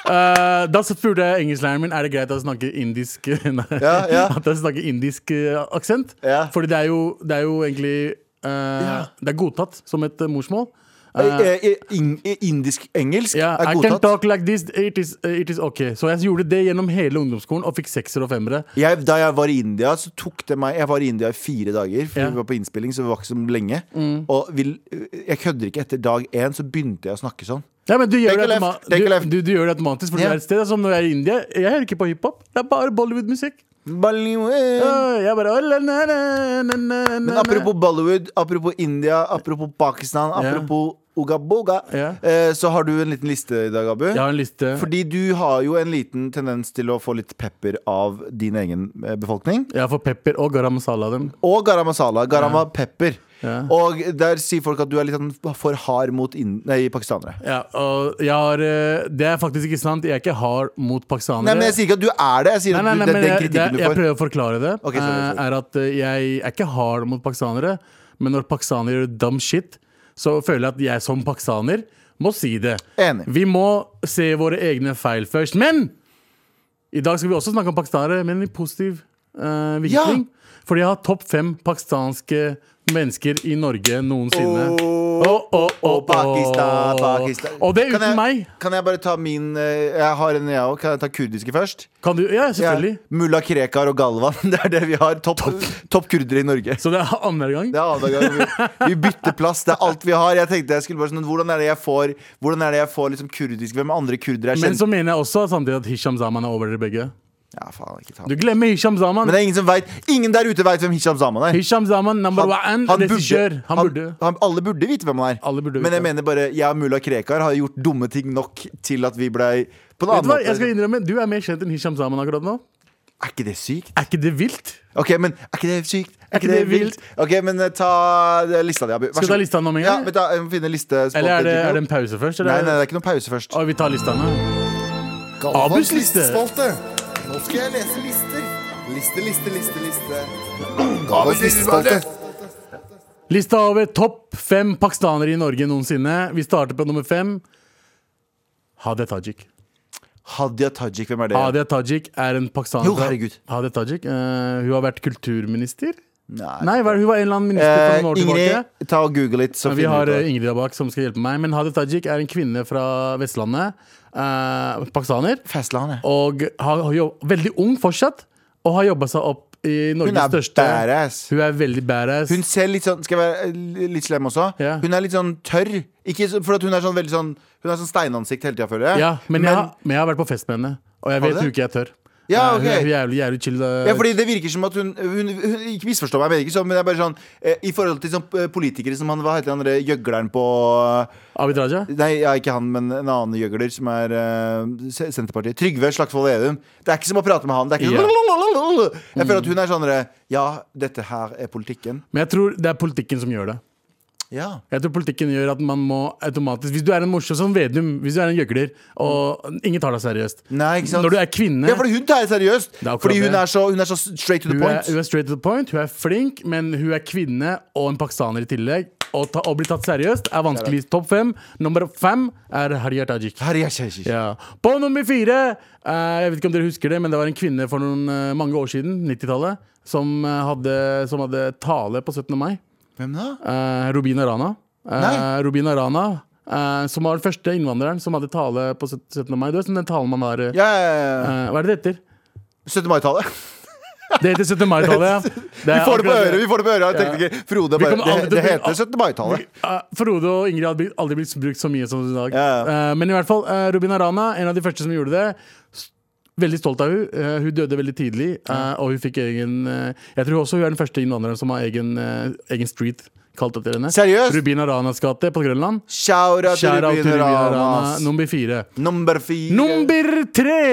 S3: eh, da så spurte jeg engelsklæreren min Er det greit at jeg snakker indisk Nei,
S4: Ja, ja.
S3: At jeg snakker indisk eh, aksent.
S4: Ja.
S3: Fordi det er jo, det er jo egentlig eh, Det er godtatt som et eh, morsmål. Eh,
S4: Eh, eh, in- eh, Indisk-engelsk
S3: Ja,
S4: er
S3: I can
S4: godtatt.
S3: talk like this, it is, uh, it is okay. Så jeg gjorde det gjennom hele ungdomsskolen og fikk sekser og femmere.
S4: Jeg, da jeg var i India, så tok det meg Jeg var i India i fire dager, for
S3: Ja. Mm.
S4: vi var på innspilling, så vi var ikke så lenge. Og vil, eh, jeg kødder ikke. Etter dag én så begynte jeg å snakke sånn.
S3: Ja, men du gjør,
S4: Take a
S3: det,
S4: left,
S3: automa-
S4: take a left.
S3: du, du, du gjør det automatisk, for
S4: Ja.
S3: du er et sted. Det er Som når jeg er i India, jeg hører ikke på hiphop. Det er bare Bollywood-musikk.
S4: Bollywood.
S3: Øh, Jeg bare «Ola, na, na, na, na, na, na».
S4: Men apropos Bollywood, apropos India, apropos Pakistan,
S3: eh, Ja.
S4: apropos Uga boga.
S3: Ja.
S4: Eh, Så har du en liten liste i dag, Abu.
S3: Jeg har en liste.
S4: Fordi du har jo en liten tendens til å få litt pepper av din egen eh, befolkning.
S3: Jeg får pepper og garam masala dem.
S4: Og garam masala. Garam var pepper.
S3: Ja.
S4: Og der sier folk at du er litt sånn for hard mot inn- nei, pakistanere.
S3: Ja, og jeg har, eh, det er faktisk ikke sant. Jeg er ikke hard mot pakistanere.
S4: Nei, men jeg sier ikke at du er det. Jeg sier
S3: Nei, nei,
S4: at
S3: nei,
S4: du, det
S3: men
S4: er den
S3: jeg, det,
S4: kritikken du
S3: jeg
S4: får.
S3: prøver å forklare det.
S4: Ok, sorry,
S3: eh,
S4: sorry.
S3: Er at eh, jeg er ikke hard mot pakistanere, men når pakistanere gjør dum shit, så føler jeg at jeg som pakistaner må si det.
S4: Enig.
S3: Vi må se våre egne feil først. Men i dag skal vi også snakke om pakistanere, men i positiv eh, vinkling. Fordi jeg har topp fem pakistanske mennesker i Norge noensinne.
S4: Åh,
S3: Åh, åh, åh,
S4: Og Pakistan,
S3: åh.
S4: Pakistan.
S3: Og det er
S4: Kan
S3: uten
S4: jeg,
S3: meg.
S4: Kan jeg bare ta min eh, Jeg har en, jeg òg. Kan jeg ta kurdiske først?
S3: Kan du? Ja,
S4: Ja.
S3: selvfølgelig.
S4: Mulla Krekar og Galvan. Det er det vi har. Topp topp kurdere i Norge.
S3: Så det er andre gang.
S4: Det er andre gang vi, vi bytter plass. Det er alt vi har. Jeg tenkte jeg skulle bare sånn Hvordan er det jeg får Hvordan er det jeg får liksom kurdisk Hvem andre kurdere er
S3: Men
S4: kjent?
S3: så mener jeg også samtidig at Hisham Zaman er over dere begge.
S4: Ja, faen, ikke ta
S3: Du glemmer Hisham Zaman.
S4: Men det er ingen som vet, ingen der ute vet hvem Hisham Zaman er.
S3: Hisham Zaman, number one, regissør. Han,
S4: han-
S3: burde
S4: han- alle burde vite hvem han er.
S3: Alle burde
S4: Men jeg
S3: vite.
S4: mener bare jeg og mulla Krekar har gjort dumme ting nok til at vi blei På en
S3: Vet du
S4: annen
S3: hva,
S4: måte.
S3: jeg skal innrømme, du er mer kjent enn Hisham Zaman akkurat nå.
S4: Er ikke det sykt?
S3: Er ikke det vilt?
S4: Ok, men Er ikke det sykt? Er ikke det vilt? Ok, men eh, ta eh, lista di, Abu. Vær
S3: Skal vi
S4: så
S3: ta
S4: god.
S3: lista nå med en
S4: Ja,
S3: gang?
S4: men ta, jeg må finne liste
S3: Eller er det, er det en pause
S4: Nei,
S3: først? Eller?
S4: nei, det er ikke noen pause først.
S3: Å, vi tar lista nå. Abus liste.
S5: Nå skal jeg lese lister. Liste, liste, liste, liste.
S4: Abus listespalte.
S3: Lista over topp fem pakistanere i Norge noensinne. Vi starter på nummer fem. Hadia Tajik.
S4: Hadia Tajik, hvem er det?
S3: Hadia Tajik er en pakistaner
S4: Jo,
S3: fra-
S4: herregud.
S3: Hadia Tajik, eh, Hun har vært kulturminister.
S4: Nei.
S3: Nei, hva er det? hun var en eller annen minister
S4: Eh,
S3: for noen år tilbake.
S4: Ingrid, ta og google litt. Så
S3: Men vi
S4: finner
S3: har
S4: ut av det.
S3: eh, Ingrid der bak som skal hjelpe meg. Men Hadia Tajik er en kvinne fra Vestlandet. eh, pakistaner.
S4: Festland, jeg.
S3: Og har, har jobb, veldig ung fortsatt. Og har jobba seg opp i Norges
S4: Hun er
S3: største
S4: badass.
S3: Hun er veldig badass.
S4: Hun ser litt sånn Skal jeg være eh, litt slem også?
S3: Ja.
S4: Hun er litt sånn tørr. Ikke så, for at hun er sånn veldig sånn Hun har sånn steinansikt hele tida, føler jeg.
S3: ja, men, jeg, har- men jeg har vært på fest med henne, og jeg
S4: Har du
S3: vet hun
S4: det?
S3: ikke jeg tør.
S4: Ja,
S3: Eh, Hun er
S4: ok.
S3: jævlig, jævlig chill. eh,
S4: ja, fordi det virker som at hun, hun, hun Ikke misforstå meg, jeg mener ikke sånn, men det er bare sånn eh, I forhold til sånn eh, politikere som han Hva heter han derre gjøgleren på eh,
S3: Abid Raja.
S4: Nei, ja, ikke han, men en annen gjøgler som er eh, Se- Senterpartiet. Trygve Slagsvold Vedum. Det er ikke som å prate med han. Det er ikke sånn,
S3: Ja. Mm.
S4: Jeg føler at hun er sånn derre Ja, dette her er politikken.
S3: Men jeg tror det er politikken som gjør det.
S4: Ja.
S3: Jeg tror politikken gjør at man må automatisk Hvis du er en morsom som Vedum, hvis du er en gjøgler, og ingen tar deg seriøst
S4: Nei, ikke sant?
S3: Når du er kvinne
S4: Ja, fordi hun tar det seriøst.
S3: er akkurat
S4: fordi hun
S3: det.
S4: er, så, hun er så straight to the
S3: hun er,
S4: point.
S3: hun er straight to the point, hun er flink, men hun er kvinne og en pakistaner i tillegg. Å, ta, å bli tatt seriøst er vanskelig. Topp fem. Nummer fem er Haria Tajik.
S4: Herre, jeg kjenner ikke.
S3: Ja. På nummer fire eh, Jeg vet ikke om dere husker det, men det var en kvinne for noen, eh, mange år siden, 90-tallet, som, eh, hadde- som hadde tale på 17. mai.
S4: Hvem da?
S3: Eh, Robina Rana. Eh,
S4: Nei.
S3: Robina Rana eh, som var den første innvandreren som hadde tale på 17. mai. Du vet sånn den talen man har eh,
S4: Ja, ja, ja.
S3: eh, Hva er det det heter?
S4: 17. mai-tallet.
S3: Det heter 17. mai-tale, ja. Det
S4: Vi
S3: er
S4: får det på
S3: akkurat
S4: øret! vi får det på øret Jeg tenkte ikke Frode
S3: Vi
S4: bare,
S3: kommer
S4: det,
S3: aldri til å
S4: det
S3: bli-
S4: heter 17. mai-tallet.
S3: Eh, Frode og Ingrid hadde blitt- aldri blitt brukt så mye som i dag.
S4: Ja,
S3: Eh, men i hvert fall, eh, Rubina Rana, en av de første som gjorde det. s- Veldig stolt av hun Eh, Hun døde veldig tidlig, eh, og hun fikk egen eh, Jeg tror også hun er den første innvandreren som har egen, eh, egen street kalt etter henne.
S4: Seriøst?
S3: Rubina Ranas gate på Grønland.
S4: Shout out til
S3: Shout out til
S4: Rubin
S3: Rubina Rana,
S4: Ramas.
S3: nummer fire.
S4: Number fire.
S3: Nummer tre!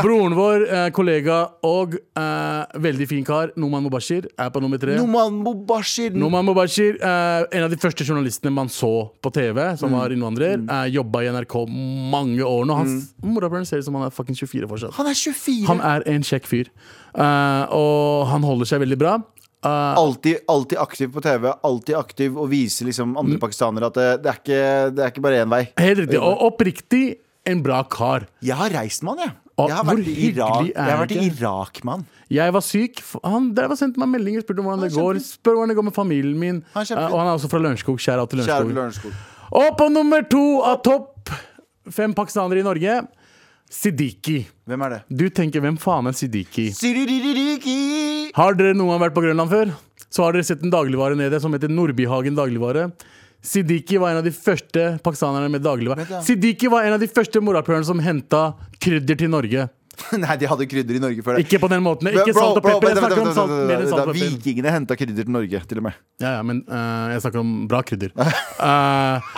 S3: Broren vår, eh, kollega og eh, veldig fin kar, Noman Mubashir, er på nummer tre.
S4: Noman Mubashir.
S3: Noman Mubashir, eh, en av de første journalistene man så på TV,
S4: Mm.
S3: som var innvandrer, eh, jobba i NRK mange år nå.
S4: Mm.
S3: Hans morapuleren ser ut som han er fucking 24 fortsatt.
S4: Han er 24.
S3: Han er en kjekk fyr. Eh, og han holder seg veldig bra. Eh,
S4: Alltid, alltid aktiv på TV, alltid aktiv og viser liksom
S3: Mm.
S4: andre pakistanere at det, det, er ikke, det er ikke bare én vei.
S3: helt riktig. Og oppriktig en bra kar.
S4: Jeg har reist med han, jeg.
S3: Å,
S4: Jeg har
S3: hvor
S4: vært i
S3: hyggelig
S4: Irak,
S3: er
S4: jeg har vært i
S3: det?
S4: Irak med han.
S3: Jeg var syk. F- Han drev og sendte meg meldinger spurte om hvordan det
S4: er
S3: går. Spør hvordan det går med familien min.
S4: Han er kjempefin.
S3: Eh, og han er også fra Lørenskog. Kjære til
S4: Kjære
S3: Lørenskog.
S4: til Lørenskog.
S3: Og på nummer to av topp fem pakistanere i Norge, Siddiqui.
S4: Hvem er det?
S3: Du tenker 'hvem faen er Siddiqui'?
S4: Siriririki.
S3: Har dere noen gang vært på Grønland før? Så har dere sett en dagligvare nede som heter Nordbyhagen dagligvare. Siddiqui var en av de første pakistanerne med dagligvare.
S4: da.
S3: Siddiqui var en av de første morapulerne som henta krydder til Norge.
S4: Nei, de hadde krydder i Norge før det.
S3: Ikke på den måten.
S4: Men
S3: Ikke
S4: bro,
S3: salt og
S4: bro,
S3: pepper. Jeg
S4: vent, vent,
S3: snakker om
S4: vent,
S3: salt
S4: vent,
S3: mer enn
S4: vent,
S3: salt og
S4: vent.
S3: pepper.
S4: Vikingene henta krydder til Norge, til og med.
S3: Ja, ja, men eh, jeg snakker om bra krydder. Eh,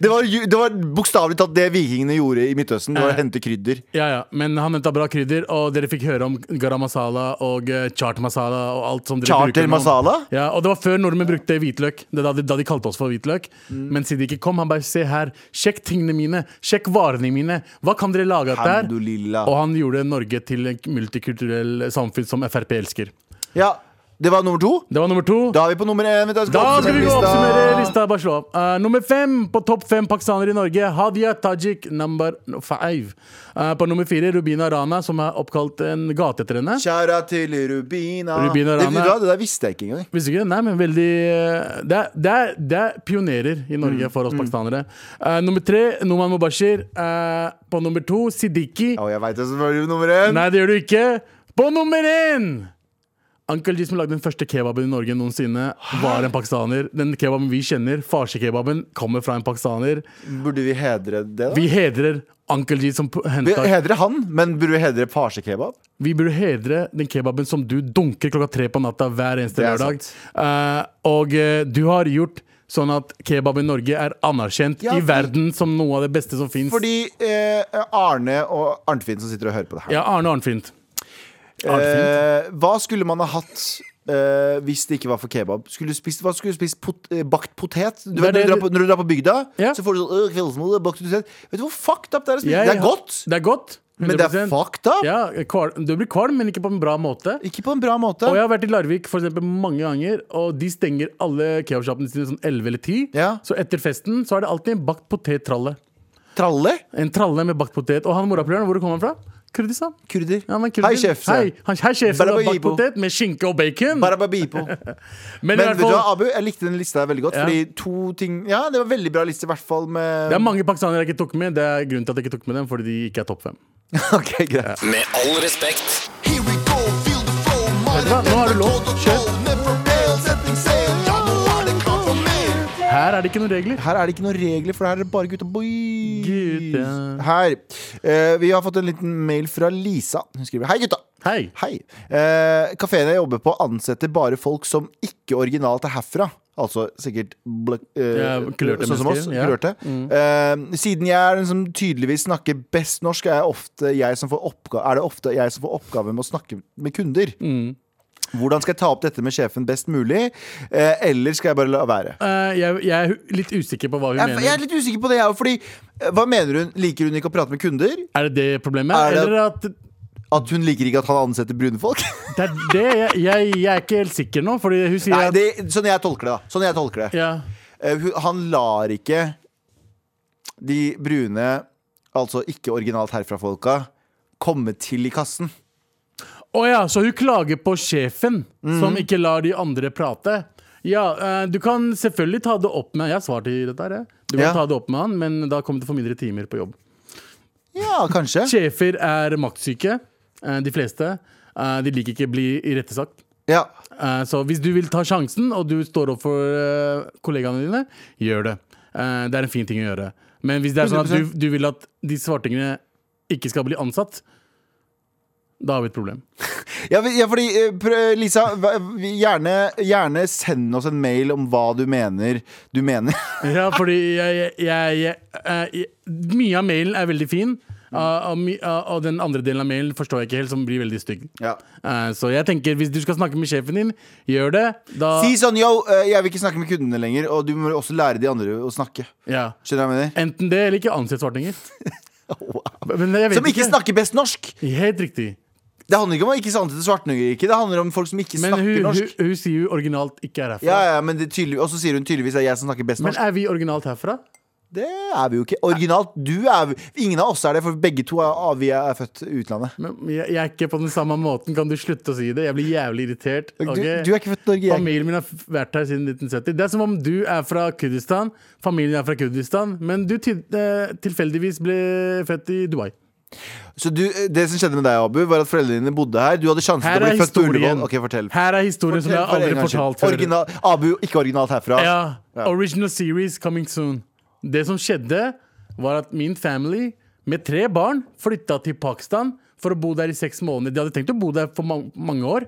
S4: Det var, ju- det var bokstavelig talt det vikingene gjorde i Midtøsten. Det var å hente krydder.
S3: ja, ja, men han henta bra krydder, og dere fikk høre om garam masala og eh, chaat masala og alt som dere
S4: Charter
S3: bruker nå.
S4: masala?
S3: Ja, og det var før nordmenn brukte hvitløk. Det er da de, da de kalte oss for hvitløk.
S4: Mm.
S3: Men siden de ikke kom, han bare se her, sjekk tingene mine, sjekk varene mine. Hva kan dere lage av det her?
S4: Alhamdulillah.
S3: Og han gjorde Norge til et multikulturell samfunn som Frp elsker.
S4: Ja, det var nummer to.
S3: Det var nummer to.
S4: Da er vi på nummer én. Vent, jeg
S3: Da skal vi gå og oppsummere
S4: lista.
S3: lista. Bare slå opp. Eh, nummer fem på topp fem pakistanere i Norge. Hadia Tajik number five. Eh, på nummer fire Rubina Rana, som er oppkalt en gate etter henne.
S4: Kjære til Rubina.
S3: Rubina
S4: det, vet du
S3: Rana.
S4: hva, det der visste jeg ikke engang.
S3: Visste ikke det? Nei, men veldig eh, Det er, det er, det er pionerer i Norge for oss pakistanere. Eh, nummer tre Noman Mubashir. Eh, på nummer to Siddiqui.
S4: Å, jeg veit det selvfølgelig. Nummer én.
S3: Nei, det gjør du ikke. På nummer én! Uncle G som lagde den første kebaben i Norge noensinne, var en pakistaner. Den kebaben vi kjenner, farsekebaben, kommer fra en pakistaner.
S4: Burde vi hedre det, da?
S3: Vi hedrer Uncle G som
S4: Vi
S3: henta
S4: hedrer han, men burde vi hedre farsekebab?
S3: Vi burde hedre den kebaben som du dunker klokka tre på natta hver eneste
S4: Det er
S3: lørdag. Eh, og eh, du har gjort sånn at kebab i Norge er anerkjent
S4: Ja,
S3: i
S4: for-
S3: verden som noe av det beste som fins.
S4: Fordi eh, Arne og Arnfinn som sitter og hører på det her.
S3: Ja, Arne Arnfint. Arnfint.
S4: Eh, hva skulle man ha hatt eh, hvis det ikke var for kebab? Skulle du spist, hva skulle du spist? Pot, eh, bakt potet? Du
S3: Det er
S4: vet, når,
S3: det-
S4: du drar på, når du drar på bygda,
S3: Ja.
S4: så får du sånn øh, kveldsmål, bakt potet. Vet du hvor fucked up det er å spise?
S3: Jeg-
S4: det er godt,
S3: Det er godt.
S4: men det er
S3: 100%.
S4: fucked up.
S3: Ja, kval, du blir kvalm, men ikke på en bra måte.
S4: Ikke på en bra måte.
S3: Og jeg har vært i Larvik for eksempel, mange ganger, og de stenger alle kebabsjappene sine sånn 11 eller 10.
S4: Ja.
S3: Så etter festen så er det alltid en bakt potet-tralle.
S4: Tralle?
S3: En tralle med bakt potet. Og han morapuleren, hvor kommer han fra? Kurdistan.
S4: Kurder.
S3: Ja, men kurder.
S4: Hei, sjef.
S3: Hei, han, hei sjef, det var bakt
S4: Barabajibo.
S3: potet med skinke og bacon.
S4: Barababipo.
S3: Men, i
S4: Men
S3: hvert
S4: vet du hva,
S3: fall,
S4: Abu, jeg likte den lista der veldig godt.
S3: Ja.
S4: Fordi to ting Ja, det var veldig bra liste, i hvert fall med
S3: det er mange pakistanere jeg ikke tok med. Det er grunnen til at jeg ikke tok med dem, fordi de ikke er topp fem.
S4: Ok, greit.
S6: Med all respekt.
S5: Here we go, feel the flow.
S3: Vet du hva, nå har du lov. Kjør.
S5: Never fail, setting sail. Ja, nå er det kamp for mer.
S3: Her er det ikke noen regler.
S4: Her er det ikke noen regler, for her er det bare gutta boys.
S3: Gutta.
S4: Her. Eh, vi har fått en liten mail fra Lisa. Hun skriver Hei, gutta.
S3: Hei.
S4: Hei. Eh, kafeen jeg jobber på, ansetter bare folk som ikke originalt er herfra. Altså sikkert blø- eh,
S3: Ja, kulørte
S4: sånn som oss.
S3: mennesker, ja. Mm.
S4: Kulørte. Eh, siden jeg er den som tydeligvis snakker best norsk, er, jeg ofte jeg som får oppga er det ofte jeg som får oppgave med å snakke med kunder.
S3: Mm.
S4: Hvordan skal jeg ta opp dette med sjefen best mulig, eh, eller skal jeg bare la være?
S3: Eh, jeg, jeg er litt usikker på hva hun
S4: Jeg,
S3: mener.
S4: jeg er litt usikker på det, jeg òg. Fordi eh, hva mener hun? Liker hun ikke å prate med kunder?
S3: Er det det problemet?
S4: Er det-
S3: Eller at
S4: At hun liker ikke at han ansetter brune folk?
S3: det er det? Jeg, jeg, jeg er ikke helt sikker nå, fordi hun sier
S4: Nei,
S3: at
S4: det, sånn jeg tolker det, da. Sånn jeg tolker det.
S3: ja.
S4: Eh, hun- Han lar ikke de brune, altså ikke originalt herfra-folka, komme til i kassen.
S3: Å ja, så hun klager på sjefen,
S4: Mm.
S3: som ikke lar de andre prate. Ja, eh, du kan selvfølgelig ta det opp med Jeg har svart i dette her, jeg. Du kan
S4: Ja.
S3: ta det opp med han, men da kommer du til å få mindre timer på jobb.
S4: Ja, kanskje.
S3: Sjefer er maktsyke, eh, de fleste. Eh, De liker ikke å bli irettesagt.
S4: Ja.
S3: Eh, Så hvis du vil ta sjansen, og du står opp for eh, kollegaene dine, gjør det. Eh, Det er en fin ting å gjøre. Men hvis det er sånn at du, du vil at de svartingene ikke skal bli ansatt, da har vi et problem.
S4: Ja, vi- ja, fordi eh, prø- Lisa, hva- vi- gjerne, gjerne send oss en mail om hva du mener du mener.
S3: Ja, fordi jeg, jeg, jeg, eh, jeg Mye av mailen er veldig fin. Eh, Og, og, my- og og den andre delen av mailen forstår jeg ikke helt, som blir veldig stygg.
S4: Ja.
S3: Eh, Så jeg tenker, hvis du skal snakke med sjefen din, gjør det. Da,
S4: Si sånn yo, eh, jeg vil ikke snakke med kundene lenger, og du må også lære de andre å snakke.
S3: ja.
S4: Skjønner du hva jeg mener?
S3: Enten det, eller ikke ansett svartinger. Men jeg vet
S4: Som ikke snakker best norsk!
S3: Helt riktig.
S4: Det handler ikke om å ikke sannhet til svartnøyerike, det handler om folk som ikke
S3: Men
S4: snakker
S3: hun, hun,
S4: norsk.
S3: hun sier jo originalt ikke er herfra.
S4: Ja, ja, men det tydelig, Og så sier hun tydeligvis at jeg som snakker best
S3: Men
S4: norsk.
S3: er vi originalt herfra?
S4: Det er vi jo ikke. Originalt, du er Ingen av oss er det, for begge to er, vi er født i utlandet.
S3: Men jeg, jeg er ikke på den samme måten. Kan du slutte å si det? Jeg blir jævlig irritert.
S4: Du,
S3: ok?
S4: du er ikke født i Norge. Jeg.
S3: Familien min har f- vært her siden 1970. Det er som om du er fra Kurdistan, familien er fra Kurdistan, men du til, eh, tilfeldigvis ble født i Dubai.
S4: Så du, det som skjedde med deg, Abu, var at foreldrene dine bodde her. Du hadde sjansen
S3: Her
S4: til å
S3: er
S4: bli født på
S3: historien.
S4: Ullevål. Ok, fortell.
S3: Her er historien som jeg
S4: Fortell for en
S3: aldri
S4: gangs skyld.
S3: fortalt før.
S4: Original, Abu, ikke originalt herfra.
S3: Ja, Original series coming soon. Det som skjedde, var at min family med tre barn flytta til Pakistan for å bo der i seks måneder. De hadde tenkt å bo der for man mange år,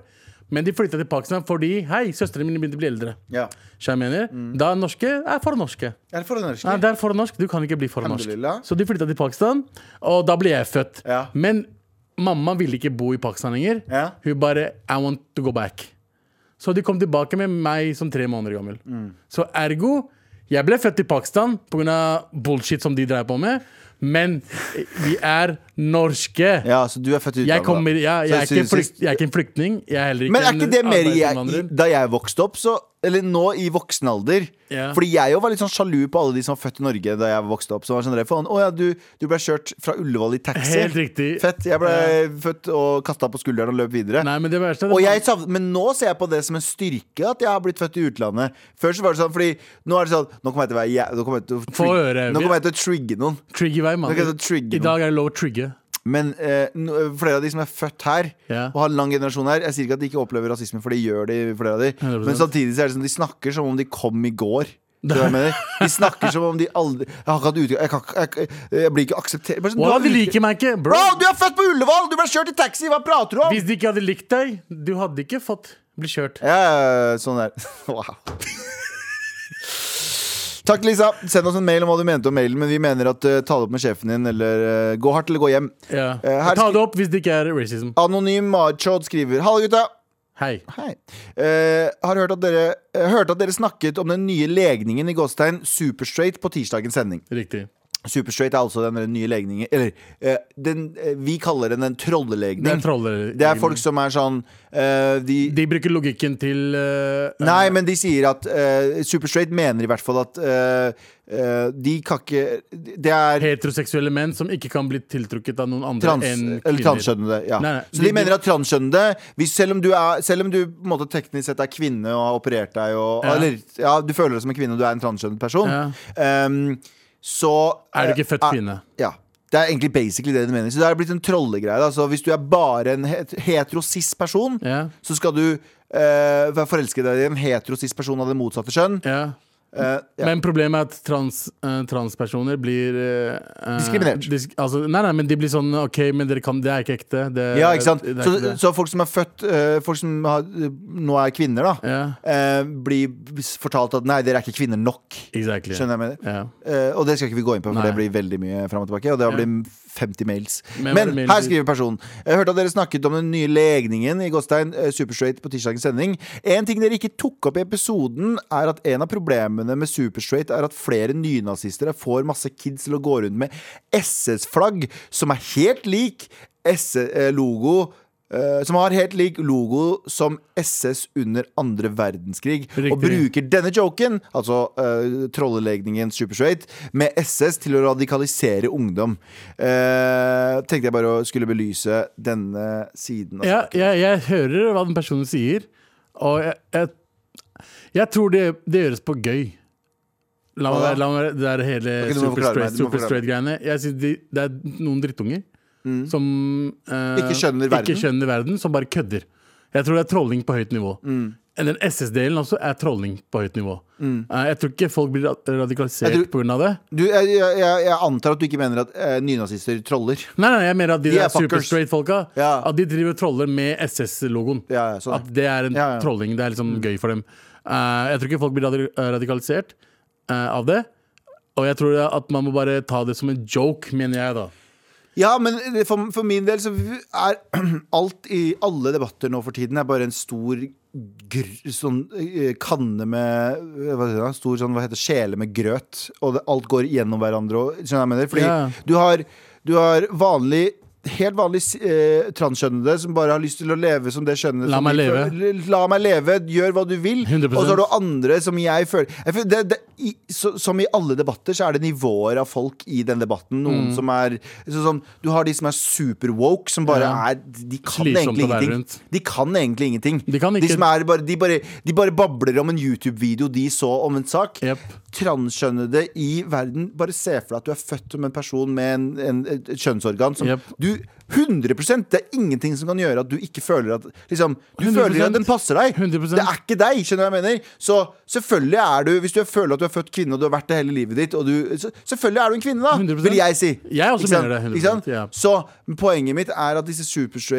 S3: men de flytta til Pakistan fordi Hei, søstrene mine begynte å bli eldre.
S4: Ja.
S3: Så jeg mener, Da norske er for norske.
S4: Er det for den norske?
S3: Nei, det er for norsk. Du kan ikke bli for norsk.
S4: Alhamdulillah.
S3: Så de flytta til Pakistan, og da ble jeg født.
S4: Ja.
S3: Men mamma ville ikke bo i Pakistan lenger.
S4: Ja.
S3: Hun bare I want to go back. Så de kom tilbake med meg som tre måneder gammel.
S4: Mm.
S3: Så ergo jeg ble født i Pakistan pga. bullshit som de dreier på med, men vi er norske.
S4: Ja, så du er født i utlandet?
S3: Jeg, kommer, jeg,
S4: da. Så
S3: jeg, er ikke
S4: synes-
S3: flykt, jeg er ikke en flyktning. Jeg er heller ikke
S4: Men er ikke det
S3: en
S4: mer i, i,
S3: arbeidsinnvandrer.
S4: da jeg vokste opp, så Eller nå i voksen alder.
S3: Ja.
S4: Fordi jeg jo var litt sånn sjalu på alle de som var født i Norge da jeg vokste opp. Som var sånn der, faen, å ja, du, du ble kjørt fra Ullevål i taxi.
S3: Helt riktig.
S4: Fett. Jeg ble født og kasta på skulderen og løp videre.
S3: Nei, men det verste er
S4: Og
S3: at-
S4: jeg savn- men nå ser jeg på det som en styrke at jeg har blitt født i utlandet. Før så var det sånn, fordi nå er det sånn Nå kommer jeg til å være jæ- Nå kommer jeg til å,
S3: Få
S4: trigg-
S3: høre.
S4: nå kommer jeg til å trigge noen.
S3: Trigger vei, mann.
S4: Nå kan jeg trigge
S3: I dag er det lov å trigge.
S4: Men eh, no- flere av de som er født her,
S3: Ja.
S4: og har en lang generasjon her Jeg sier ikke at de ikke opplever rasisme, for det gjør de, flere av de.
S3: 100%.
S4: Men samtidig så er det sånn de snakker som om de kom i går. Skjønner du hva jeg mener? De snakker som om de aldri Jeg har ikke hatt utgang jeg, kan ikke- jeg, jeg blir ikke akseptert Bare sånn,
S3: Wallah,
S4: du
S3: de
S4: har utgang-
S3: liker meg ikke, bro!
S4: Bro, du er født på Ullevål! Du ble kjørt i taxi! Hva prater du om?
S3: Hvis de ikke hadde likt deg, du hadde ikke fått bli kjørt.
S4: Ja, sånn der. Wow. Takk, Lisa. Send oss en mail om hva du mente om mailen, men vi mener at eh, ta det opp med sjefen din, eller eh, gå hardt eller gå hjem.
S3: Ja.
S4: Eh, her
S3: Ta
S4: skri-
S3: det opp hvis det ikke er racism.
S4: Anonym Marchod skriver Halla, gutta!
S3: Hei.
S4: Hei. Eh, har hørt at, dere, eh, hørt at dere snakket om den nye legningen i gåstegn Superstraight på tirsdagens sending.
S3: Riktig.
S4: Superstraight er altså den nye legningen Eller eh, den, eh, vi kaller den en trollelegning.
S3: Det er troller.
S4: Det er folk som er sånn eh, de,
S3: De bruker logikken til eh,
S4: Nei, men de sier at eh, Superstraight mener i hvert fall at eh, eh, de kan ikke Det er
S3: heteroseksuelle menn som ikke kan bli tiltrukket av noen andre
S4: trans,
S3: enn
S4: eller
S3: kvinner.
S4: transkjønnede. Ja.
S3: Nei, nei,
S4: så de,
S3: de-
S4: mener at transkjønnede hvis, selv, om du er, selv om du på en måte teknisk sett er kvinne og har operert deg og,
S3: Ja.
S4: Eller ja, du føler deg som en kvinne og du er en transkjønnet person,
S3: Ja.
S4: ehm, så
S3: Er du ikke født
S4: eh, er-
S3: kvinne?
S4: Ja. Det er egentlig basically det de mener. Så det er blitt en trollegreie. da. Så hvis du er bare en het heterosis-person,
S3: Ja.
S4: så skal du eh, være forelsket deg i en heterosis-person av det motsatte kjønn.
S3: ja.
S4: Eh, ja.
S3: Men problemet er at trans, eh, transpersoner blir eh,
S4: Diskriminert.
S3: Disk, altså, nei, nei, men de blir sånn OK, men dere kan, det er ikke ekte. Det,
S4: Ja, ikke sant?
S3: det er
S4: Så,
S3: ikke det.
S4: så folk som er født eh, Folk som har, nå er kvinner, da,
S3: Ja.
S4: eh, blir fortalt at nei, dere er ikke kvinner nok.
S3: Exactly.
S4: Skjønner jeg mener?
S3: Ja.
S4: Eh, og det skal ikke vi gå inn på, for
S3: Nei.
S4: det blir veldig mye fram og tilbake. Og det
S3: Ja.
S4: blir 50 mails.
S3: Men
S4: Men
S3: hva er
S4: her
S3: det mail-
S4: skriver personen Jeg hørte at dere snakket om den nye legningen i Godstein eh, Superstraight på tirsdagens sending. En ting dere ikke tok opp i episoden, er at en av problemene med Superstraight er at flere nynazister får masse kids til å gå rundt med SS-flagg som er helt lik SS-logo eh, som har helt lik logo som SS under andre verdenskrig. Og
S3: Riktig.
S4: bruker denne joken, altså uh, trollelegningen Superstraight, med SS til å radikalisere ungdom. Eh, tenkte jeg bare å skulle belyse denne siden. Altså. av
S3: ja,
S4: saken.
S3: jeg, jeg hører hva den personen sier, og jeg, jeg, jeg tror det, det gjøres på gøy. La
S4: Hva
S3: meg
S4: da?
S3: være, la meg være det der hele
S4: Ok, du må
S3: super
S4: forklare meg, du må
S3: straight- super
S4: forklare
S3: straight-greiene. Jeg synes de, Det er noen drittunger som eh,
S4: Mm. Ikke skjønner verden.
S3: ikke skjønner verden, som bare kødder. Jeg tror det er trolling på høyt nivå.
S4: Mm.
S3: Den SS-delen også er trolling på høyt nivå. Eh, jeg tror ikke folk blir ra- radikalisert
S4: Jeg tror-
S3: pga. det.
S4: Mm. Du, jeg, jeg, jeg jeg antar at du ikke mener at eh, nynazister troller.
S3: Nei, nei, jeg mener at de,
S4: De er
S3: der super
S4: fuckers.
S3: straight folka
S4: Ja.
S3: At de driver og troller med SS-logoen.
S4: Ja, ja, sånn.
S3: At det er en
S4: Ja, Mm. ja.
S3: trolling. Det er liksom gøy for dem. Eh, jeg tror ikke folk blir radi- eh, radikalisert eh, av det. Og jeg tror at man må bare ta det som en joke, mener jeg, da.
S4: Ja, men det- for, for min del så er alt i alle debatter nå for tiden er bare en stor gr sånn eh, kanne med eh, Hva heter det? da? Stor sånn, hva heter det? Sjele med grøt. Og det, alt går gjennom hverandre. Og, skjønner du hva jeg mener? Fordi
S3: Ja.
S4: du har, du har vanlig Helt vanlig eh, transkjønnede som bare har lyst til å leve som det skjønnet.
S3: La
S4: som
S3: meg
S4: de
S3: leve.
S4: føler. La meg leve, gjør hva du vil.
S3: 100%.
S4: Og så har du andre som jeg føler jeg føler det, det, i, så, Som i alle debatter så er det nivåer av folk i den debatten.
S3: Mm.
S4: Noen som er sånn som Du har de som er superwoke, som bare
S3: Ja.
S4: er De kan
S3: Slitsomt
S4: egentlig
S3: å være
S4: ingenting.
S3: rundt.
S4: De kan egentlig ingenting.
S3: De kan ikke-
S4: som er bare, de, bare, de bare babler om en YouTube-video de så om en sak.
S3: Jep.
S4: Transkjønnede i verden, bare se for deg at du er født som en person med en, en, et kjønnsorgan som
S3: Jep.
S4: Du 100 Det er ingenting som kan gjøre at du ikke føler at liksom, Du
S3: 100%.
S4: føler at den passer deg.
S3: 100%.
S4: Det er ikke deg, skjønner du hva jeg mener? Så selvfølgelig er du Hvis du føler at du er født kvinne og du har vært det hele livet ditt, og du så, Selvfølgelig er du en kvinne, da,
S3: 100%.
S4: vil jeg si.
S3: Jeg også
S4: Ikke sant?
S3: mener det, 100%,
S4: Ikke sant?
S3: ja.
S4: Så men poenget mitt er at disse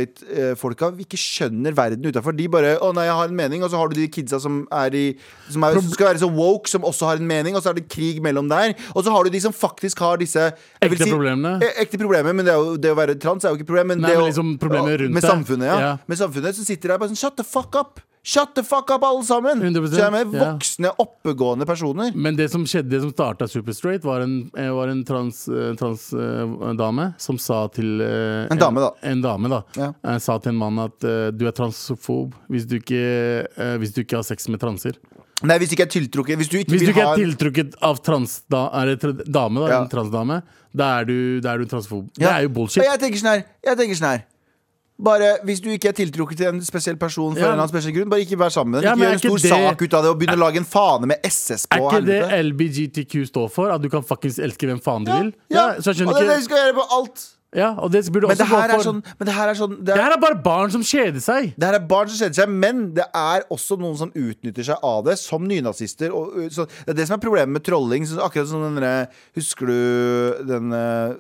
S4: superstraight-folka ikke skjønner verden utafor. De bare 'Å nei, jeg har en mening', og så har du de kidsa som, er i, som er, som skal være så woke, som også har en mening, og så er det krig mellom der. Og så har du de som faktisk har disse jeg vil
S3: Ekte problemene.
S4: eh, Ekte problemer, men det, er jo, det å være trans er jo ikke et problem. Men
S3: Nei,
S4: det
S3: men
S4: å-
S3: liksom
S4: å-
S3: problemet rundt
S4: med
S3: deg.
S4: samfunnet, ja.
S3: Ja.
S4: Med samfunnet som sitter der bare sånn 'Shut the fuck up'! Shut the fuck up, alle sammen!
S3: 100%,
S4: Så jeg er med
S3: ja.
S4: voksne, oppegående personer.
S3: Men det som skjedde, det som starta Superstraight, var en, eh, var en transdame trans, eh, dame som sa til eh,
S4: En dame, da.
S3: En, dame, da.
S4: Ja.
S3: Eh, sa til en mann at eh, du er transfob hvis du, ikke, eh, hvis du ikke har sex med transer.
S4: Nei, hvis du ikke er tiltrukket Hvis du ikke
S3: Hvis du
S4: vil
S3: ikke
S4: ha
S3: er
S4: en-
S3: tiltrukket av transda, er det tra- dame, da,
S4: Ja.
S3: en transdame, da er du, da er du transfob. Det
S4: Ja.
S3: er jo bullshit.
S4: Og jeg tenker sånn her, jeg tenker sånn her. Bare, Hvis du ikke er tiltrukket til en spesiell person, for
S3: Ja.
S4: en eller annen spesiell grunn bare ikke vær sammen med den.
S3: Ja, men
S4: ikke
S3: er
S4: gjør en stor
S3: ikke det-
S4: sak ut av det og begynne å lage en fane med SS på.
S3: Er ikke det
S4: helvete.
S3: LBGTQ står for? At du kan fuckings elske hvem faen du vil?
S4: Ja,
S3: Ja, så jeg
S4: og det er
S3: skjønner
S4: det vi
S3: ikke
S4: skal gjøre på alt.
S3: ja, Og det burde
S4: Men
S3: også
S4: det
S3: gå
S4: her er
S3: for
S4: sånn, men det her er sånn det
S3: Det
S4: er,
S3: her er bare barn som kjeder seg!
S4: det her er barn som kjeder seg, men det er også noen som utnytter seg av det, som nynazister. Og, uh, så det er det som er problemet med trolling. Så akkurat som den derre Husker du den uh,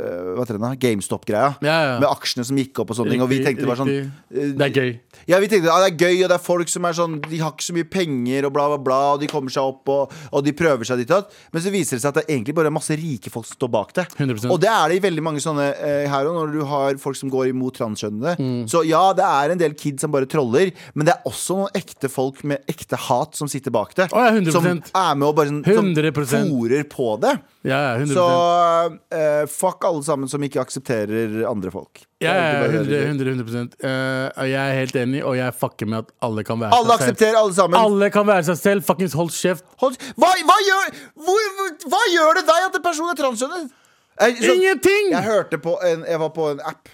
S4: uh, Hva heter den, da? GameStop-greia?
S3: Ja, ja.
S4: Med aksjene som gikk opp og sånne ting. Og vi
S3: Riktig,
S4: tenkte bare sånn
S3: riktig. Det er gøy.
S4: Ja, vi tenkte at det er gøy, og det er folk som er sånn De har ikke så mye penger, og bla, bla, bla, og de kommer seg opp, og, og de prøver seg ditt og datt. Men så viser det seg at det er egentlig bare er masse rike folk som står bak det.
S3: 100%.
S4: Og det er det i veldig mange sånne eh, her òg, når du har folk som går imot transkjønnede. Så ja, det er en del kids som bare troller, men det er også noen ekte folk med ekte hat som sitter bak det.
S3: Å ja, 100%.
S4: Som er med og bare sånn, som
S3: 100%.
S4: fòrer på det.
S3: Ja, ja, 100
S4: Så eh, fuck alle sammen som ikke aksepterer andre folk. Det er
S3: Ja, ja,
S4: egentlig bare det vi
S3: 100,
S4: sier.
S3: 100, 100%. Eh, og Jeg er helt enig, og jeg fucker med at alle kan være
S4: Alle
S3: seg selv.
S4: aksepterer alle sammen.
S3: Alle kan være seg selv. Fuckings hold kjeft.
S4: Hold, hva, hva, gjør, hvor, hvor- hva gjør det deg at en person er transkjønnet? Jeg, så-
S3: Ingenting!
S4: jeg hørte på en Jeg var på en app.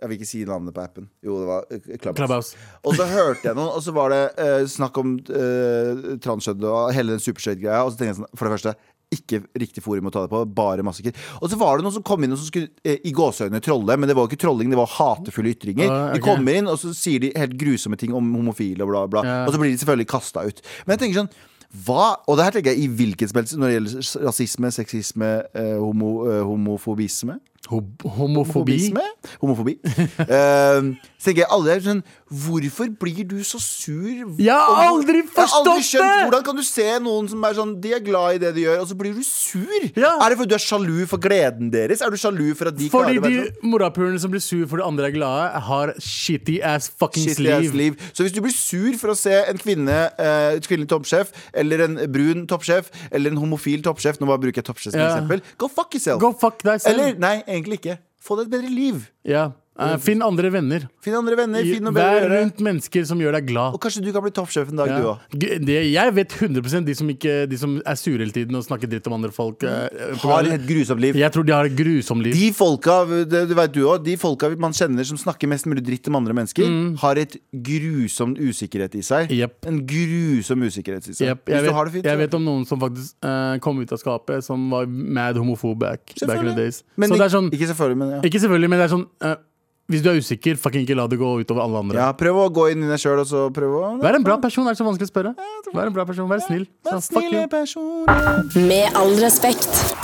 S4: Jeg vil ikke si navnet på appen. Jo, det var eh, Clubhouse.
S3: Clubhouse.
S4: Og så hørte jeg noen, og så var det eh, snakk om uh, transkjønnede og hele den superskøyt-greia. Og så tenkte jeg sånn, for det første ikke riktig forum å ta det på. Bare massakrer. Og så var det noen som kom inn og som skulle eh, i gåseøynene trolle, men det var jo ikke trolling, det var hatefulle ytringer.
S3: Ah, ok.
S4: De kommer inn, og så sier de helt grusomme ting om homofile og bla, bla.
S3: Ja.
S4: Og så blir de selvfølgelig kasta ut. Men jeg tenker sånn hva, og det her tenker jeg i hvilken som helst når det gjelder s- rasisme, sexisme, eh, homo, eh, homofobisme
S3: Hob- Homofobi.
S4: Homofobisme? Homofobi. Eh, så tenker jeg alle er sånn Hvorfor blir du så sur?
S3: Jeg har
S4: Og hvor-
S3: aldri
S4: Jeg har aldri
S3: forstått
S4: skjønt,
S3: det!
S4: Hvordan kan du se noen som er sånn De er glad i det de gjør, og så blir du sur?
S3: Ja.
S4: Er det fordi du er sjalu for gleden deres? Er du sjalu for at de
S3: Fordi
S4: klarer å
S3: de
S4: være sånn?
S3: morapulene som blir sur fordi andre er glade, har shitty ass fuckings
S4: Shit, yes,
S3: liv.
S4: liv. Så hvis du blir sur for å se en kvinne eh, et kvinnelig toppsjef, eller en brun toppsjef, eller en homofil toppsjef Nå bare bruker jeg toppsjef som
S3: Ja.
S4: eksempel. Go fuck yourself.
S3: Go fuck deg selv.
S4: eller nei, egentlig ikke. Få deg et bedre liv.
S3: Ja. Eh, Finn andre venner.
S4: Finn andre venner. Finn noe bedre
S3: Vær
S4: å gjøre.
S3: rundt mennesker som gjør deg glad.
S4: Og kanskje du kan bli toppsjef en dag, du
S3: Ja.
S4: òg.
S3: G- Det, jeg vet 100 de som, ikke, de som er sure hele tiden og snakker dritt om andre folk. eh,
S4: Mm. Har et grusomt liv.
S3: Jeg tror de har et grusomt liv.
S4: De folka det, det vet du også, de folka man kjenner som snakker mest mulig dritt om andre mennesker,
S3: Mm.
S4: har et grusomt usikkerhet i seg.
S3: Jepp.
S4: En grusom usikkerhet i seg.
S3: Jep, jeg,
S4: Hvis du
S3: vet,
S4: har det fint. så-
S3: jeg vet om noen som faktisk eh, kom ut av skapet, som var mad homofob back, back in the
S4: Selvfølgelig.
S3: days.
S4: Men
S3: så det er
S4: ikke-
S3: sånn,
S4: Ikke selvfølgelig, men ja.
S3: ikke selvfølgelig, men det er sånn eh, Hvis du er usikker, fucking ikke la det gå utover alle andre.
S4: ja. Prøv å gå inn i deg sjøl, og så prøv å
S3: Vær en bra person, er det så vanskelig å spørre. Vær en bra person, vær snill.
S4: Vær
S3: Så, fuck you.
S4: snille person.
S1: Med all respekt.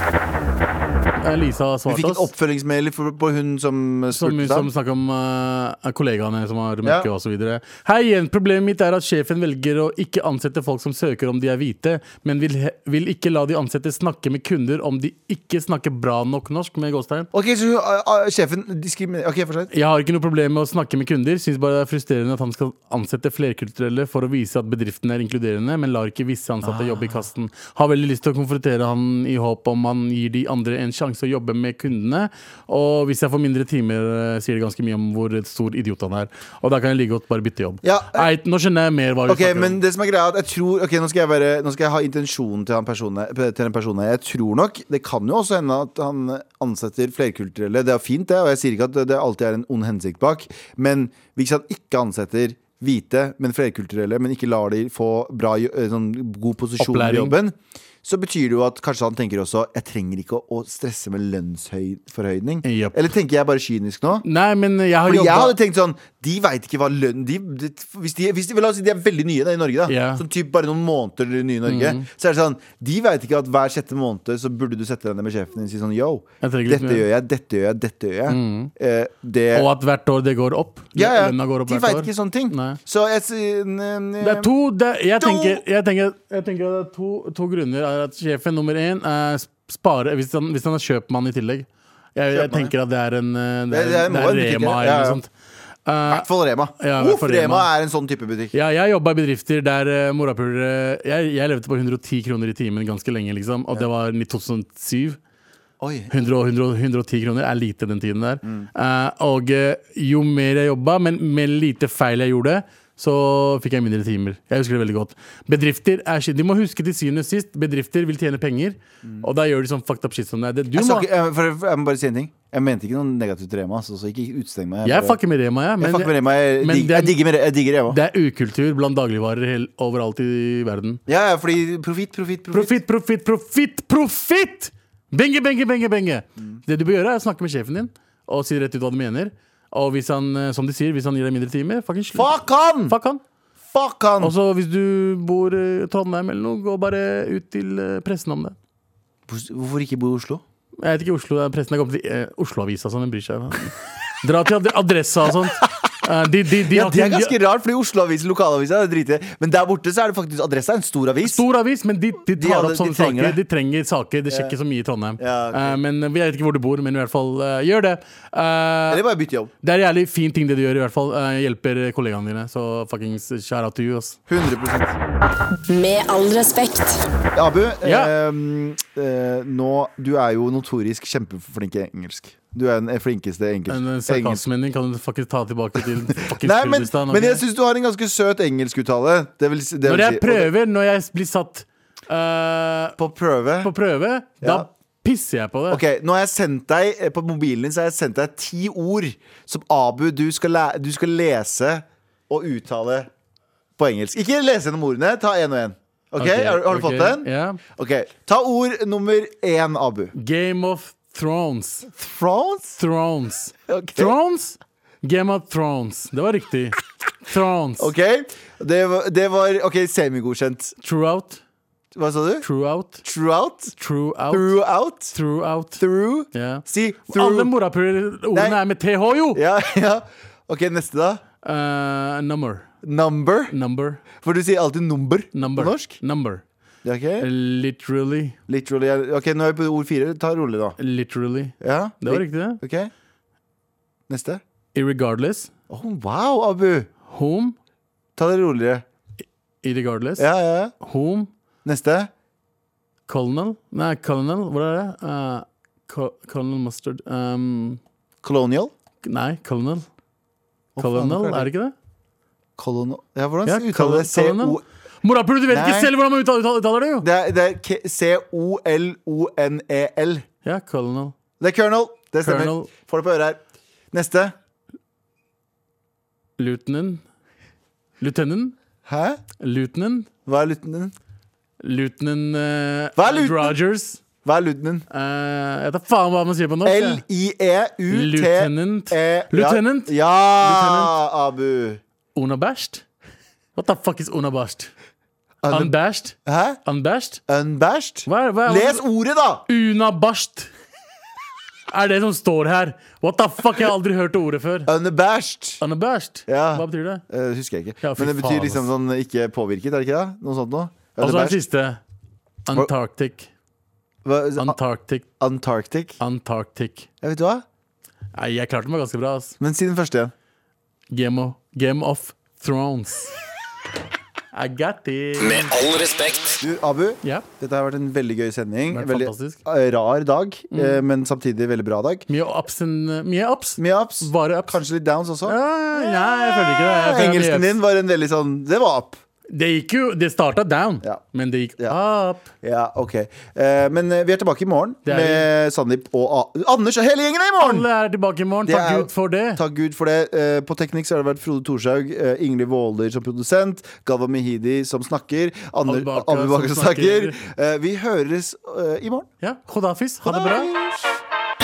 S3: Eh, Lisa har
S4: Vi
S3: svart
S4: fikk en
S3: oss.
S4: oppfølgingsmail for- på hun som eh,
S3: Som,
S4: spurte
S3: som
S4: deg.
S3: snakker om eh, kollegaene som har mørke og så videre Hei igjen, problemet mitt er at sjefen velger å ikke ansette folk som søker om de er hvite, men vil, he- vil ikke la de ansatte snakke med kunder om de ikke snakker bra nok norsk med gåstegn.
S4: Ok, så hun, ah, ah, sjefen diskriminerer Ok, fortsett.
S3: Jeg har ikke noe problem med å snakke med kunder. Syns bare det er frustrerende at han skal ansette flerkulturelle for å vise at bedriften er inkluderende, men lar ikke visse
S4: Ah.
S3: ansatte jobbe i kassen. Har veldig lyst til å konfrontere han i håp om han gir de andre en sjanse å jobbe med kundene. Og hvis jeg får mindre timer, eh, sier det ganske mye om hvor stor idiot han er. Og da kan jeg like godt bare bytte jobb.
S4: Ja, eh,
S3: Nei, nå skjønner jeg mer hva vi
S4: Ok,
S3: snakker
S4: men
S3: om.
S4: det som er greia er at jeg tror Ok, nå skal jeg, være, nå skal jeg ha intensjonen til, han personen, til den personen her. Jeg tror nok Det kan jo også hende at han ansetter flerkulturelle. Det er fint, det, og jeg sier ikke at det alltid er en ond hensikt bak. Men hvis han ikke ansetter hvite, men flerkulturelle, men ikke lar de få bra, jo- eh, sånn, god posisjon
S3: Opplæring.
S4: i jobben, så betyr det jo at kanskje han tenker også Jeg trenger ikke å, å stresse med lønnsforhøyning.
S3: Japp.
S4: Eller tenker jeg bare kynisk nå?
S3: Nei, men jeg har
S4: Fordi jeg hadde
S3: jobba
S4: tenkt sånn De veit ikke hva lønn de, de, hvis de, hvis de, La oss si de er veldig nye da, i Norge, da.
S3: Ja. Mhm.
S4: Sånn typ bare noen måneder nye i Norge. Så er det sånn De veit ikke at hver sjette måned så burde du sette deg ned med sjefen din og si sånn yo,
S3: Jeg
S4: dette
S3: trenger litt mer.
S4: gjør jeg, dette gjør jeg, dette gjør jeg. Eh, det
S3: Og at hvert år det går opp.
S4: ja, ja.
S3: Lønna går opp
S4: De
S3: hvert
S4: veit
S3: år.
S4: ikke sånne ting.
S3: Nei.
S4: Så jeg sier n- n-
S3: Det er to det, jeg,
S4: To!
S3: tenker, jeg, tenker, jeg tenker at det er to, to grunner. Er at Sjefen nummer én er spare hvis han, hvis han er kjøpmann i tillegg. Jeg, jeg
S4: Kjøpmann, ja.
S3: tenker at det er en eh, Det
S4: Det- det er
S3: er,
S4: en
S3: det
S4: mål,
S3: er
S4: butikk,
S3: Rema
S4: ja,
S3: eller
S4: ja.
S3: noe sånt.
S4: I hvert fall Rema.
S3: Ja, i hvert
S4: Uff,
S3: fall
S4: Rema
S3: Rema.
S4: er en sånn type butikk.
S3: Ja, jeg jobba i bedrifter der uh, morapulere jeg, jeg levde på 110 kroner i timen ganske lenge, liksom. Og det var 2007.
S4: Oi.
S3: 100, og 100, og 110 kroner er lite den tiden der.
S4: Mm.
S3: Eh, og eh, jo mer jeg jobba, men med lite feil jeg gjorde, så fikk jeg mindre timer. Jeg husker det veldig godt. Bedrifter er shit. De må huske til syvende og sist, bedrifter vil tjene penger. Og da gjør de sånn fucked up shit som det. er. Det- Du
S4: Mm. Jeg,
S3: må,
S4: sa ikke, jeg, for, jeg må bare si en ting. Jeg mente ikke noe negativt til Rema, så, så ikke utesteng meg.
S3: jeg
S4: bare-
S3: fucker med Rema, jeg.
S4: jeg fucker med
S3: Men
S4: Rema. Jeg,
S3: men
S4: dig,
S3: det er-
S4: jeg, digger, med- jeg digger Rema.
S3: det er ukultur blant dagligvarer hel- overalt i verden.
S4: Ja, ja, fordi profitt, profitt, profitt.
S3: Profitt, profitt, profitt, profitt! Benge, benge, benge, benge!
S4: Mm.
S3: Det du bør gjøre, er å snakke med sjefen din og si rett ut hva du mener. Og hvis han, eh, som de sier, hvis han gir deg mindre timer, fucking slutt.
S4: Fuck han!
S3: Fuck han.
S4: Fuck han!
S3: Og så hvis du bor i Trondheim eller noe, gå bare ut til eh, pressen om det.
S4: Hvorfor ikke bo i Oslo?
S3: Jeg vet ikke Oslo, eh, pressen er kommet til eh, Osloavisa, sånn, den bryr seg. Dra til ad- adressa og sånt. Eh, de, de, de
S4: Ja,
S3: har
S4: Det er
S3: ikke-
S4: ganske rart, fordi Oslo-avisen, lokalavisa, det driter jeg i. Men der borte så er det faktisk adressa, en stor avis.
S3: Stor avis, men de, de
S4: De
S3: tar
S4: hadde-
S3: opp sånne
S4: de trenger
S3: saker.
S4: det.
S3: De trenger saker. Det skjer ikke så mye i Trondheim.
S4: Ja, ok.
S3: Eh, men Vi vet ikke hvor du bor, men i hvert fall eh, gjør det. Eh,
S4: Eller bare bytte jobb.
S3: Det er en jævlig fin ting det du gjør, i hvert fall. Eh, hjelper kollegaene dine. Så fuckings shout out to you, ass.
S4: 100
S1: Med all respekt.
S4: Abu,
S3: Ja.
S4: ehm, eh, nå, du er jo notorisk kjempeflink i engelsk. Du er den flinkeste engelsk.
S3: Den eh,
S4: engelsk.
S3: sarkasmen din kan du fuckings ta tilbake til fuckings
S4: Nei, men,
S3: Kurdistan. ok?
S4: men jeg syns du har en ganske søt engelskuttale. Det vil, si- det vil
S3: Når jeg
S4: si-
S3: prøver, når jeg blir satt eh,
S4: På prøve.
S3: på prøve, da
S4: Ja.
S3: pisser jeg på det.
S4: Ok, nå har jeg sendt deg eh, På mobilen din så har jeg sendt deg ti ord Som Abu du skal, læ- du skal lese Og uttale På engelsk Ikke lese gjennom ordene, ta en og en Ok,
S3: Ok,
S4: har, har du
S3: ok,
S4: fått den?
S3: Ja.
S4: Ok, ta ord nummer en Abu
S3: Game of Thrones.
S4: Thrones?
S3: Thrones.
S4: Ok.
S3: Thrones? Game of Thrones. Det var riktig. Thrones.
S4: Ok, det var, det var Ok, semigodkjent
S3: True out.
S4: Hva sa du?
S3: True out.
S4: Throughout?
S3: True out.
S4: Throughout?
S3: True out.
S4: Through?
S3: Ja.
S4: Si
S3: Alle
S4: through
S3: morapuler-ordene
S4: Nei.
S3: er med TH, jo!
S4: Ja, ja Ok, neste da
S3: Eh, number.
S4: Number
S3: Number.
S4: For du sier alltid number
S3: Number.
S4: På norsk
S3: Number.
S4: Ja, Ok
S3: Literally.
S4: Literally er- Ok, nå er vi på ord fire. Ta det rolig, da.
S3: Literally.
S4: Ja,
S3: Det var riktig, det.
S4: Ok Neste.
S3: Irregardless.
S4: Å, wow, Abu!
S3: Home.
S4: Ta det roligere.
S3: Irregardless.
S4: Ja, ja, ja.
S3: Home.
S4: Neste.
S3: Colonel. Nei, colonel. Hvor er det? Eh, co- colonel Mustard. Um,
S4: Colonial.
S3: nei, colonel.
S4: Å, faen,
S3: Colonel,
S4: hvorfor
S3: er det ikke det?
S4: Colonial Ja, hvordan
S3: Ja,
S4: uttaler det?
S3: colonel.
S4: C-O-
S3: Morapuler, du vet
S4: Nei.
S3: ikke selv hvordan man uttaler, uttaler, uttaler det, jo!
S4: Det er, det er K- C-O-L-O-N-E-L.
S3: Ja, colonel.
S4: E Det er colonel. Det stemmer.
S3: Colonel.
S4: Får det på øret her. Neste.
S3: Lieutenant. Lieutenant.
S4: Hæ?
S3: Lieutenant.
S4: Hva er lutenen?
S3: Lieutenant eh,
S4: Hva er lieutenant?
S3: Rogers.
S4: Hva er lutenen?
S3: Eh, jeg vet da faen hva man sier på norsk. jeg.
S4: E L-I-E-U-T
S3: Lieutenant. Lieutenant.
S4: Ja,
S3: Lieutenant.
S4: ja Abu.
S3: Unabashed? What the fuck is unabashed? Unbashed?
S4: Hæ?
S3: Unbashed?
S4: Unbashed?
S3: Hva er, hva er
S4: Les ordet, da!
S3: Unabashed! Er det som står her? What the fuck? Jeg har aldri hørt det ordet før.
S4: Unabashed.
S3: Unabashed?
S4: Ja.
S3: Hva betyr det?
S4: Eh, husker jeg ikke.
S3: Ja, fy
S4: Men det betyr
S3: faen,
S4: liksom
S3: ass.
S4: sånn ikke påvirket, er det ikke det? Noe sånt noe?
S3: Og så er
S4: Unabashed.
S3: det Altså, siste. Antarctic.
S4: Hva-
S3: Antarctic.
S4: Antarctic.
S3: Antarctic.
S4: Jeg vet du hva?
S3: Nei, jeg klarte meg ganske bra, ass.
S4: Men si den første igjen.
S3: Game of, Game of Thrones. I got it.
S6: Med all respekt.
S4: Du, Abu.
S3: Ja.
S4: Dette har vært en veldig gøy sending.
S3: Vært
S4: Veldig
S3: fantastisk. Mm.
S4: eh, rar dag, eh, men samtidig veldig bra dag.
S3: Mye ups and Mye ups.
S4: Mye ups.
S3: Bare ups.
S4: Kanskje litt downs også. Eh,
S3: Ah, Nei, jeg føler ikke det. Jeg føler mye
S4: Engelsken
S3: ups.
S4: din var en veldig sånn Det var up.
S3: Det gikk jo, det starta down,
S4: Ja.
S3: men det gikk opp.
S4: Ja, ok Eh, Men eh, vi er tilbake i morgen
S3: Det er
S4: med Sandeep og A Anders og hele gjengen er i morgen!
S3: Alle er tilbake i morgen.
S4: Det
S3: Takk
S4: er jo-
S3: Gud for det.
S4: Takk Gud for det. Eh, På teknikk så har det vært Frode Thorshaug, eh, Ingrid Waaler som produsent, Galva Mehidi som snakker, Ander-
S3: Abu Bakar
S4: Abu Bakar
S3: som
S4: som snakker. Eh, Vi høres eh, i morgen.
S3: Ja, Khodafis. Ha det bra.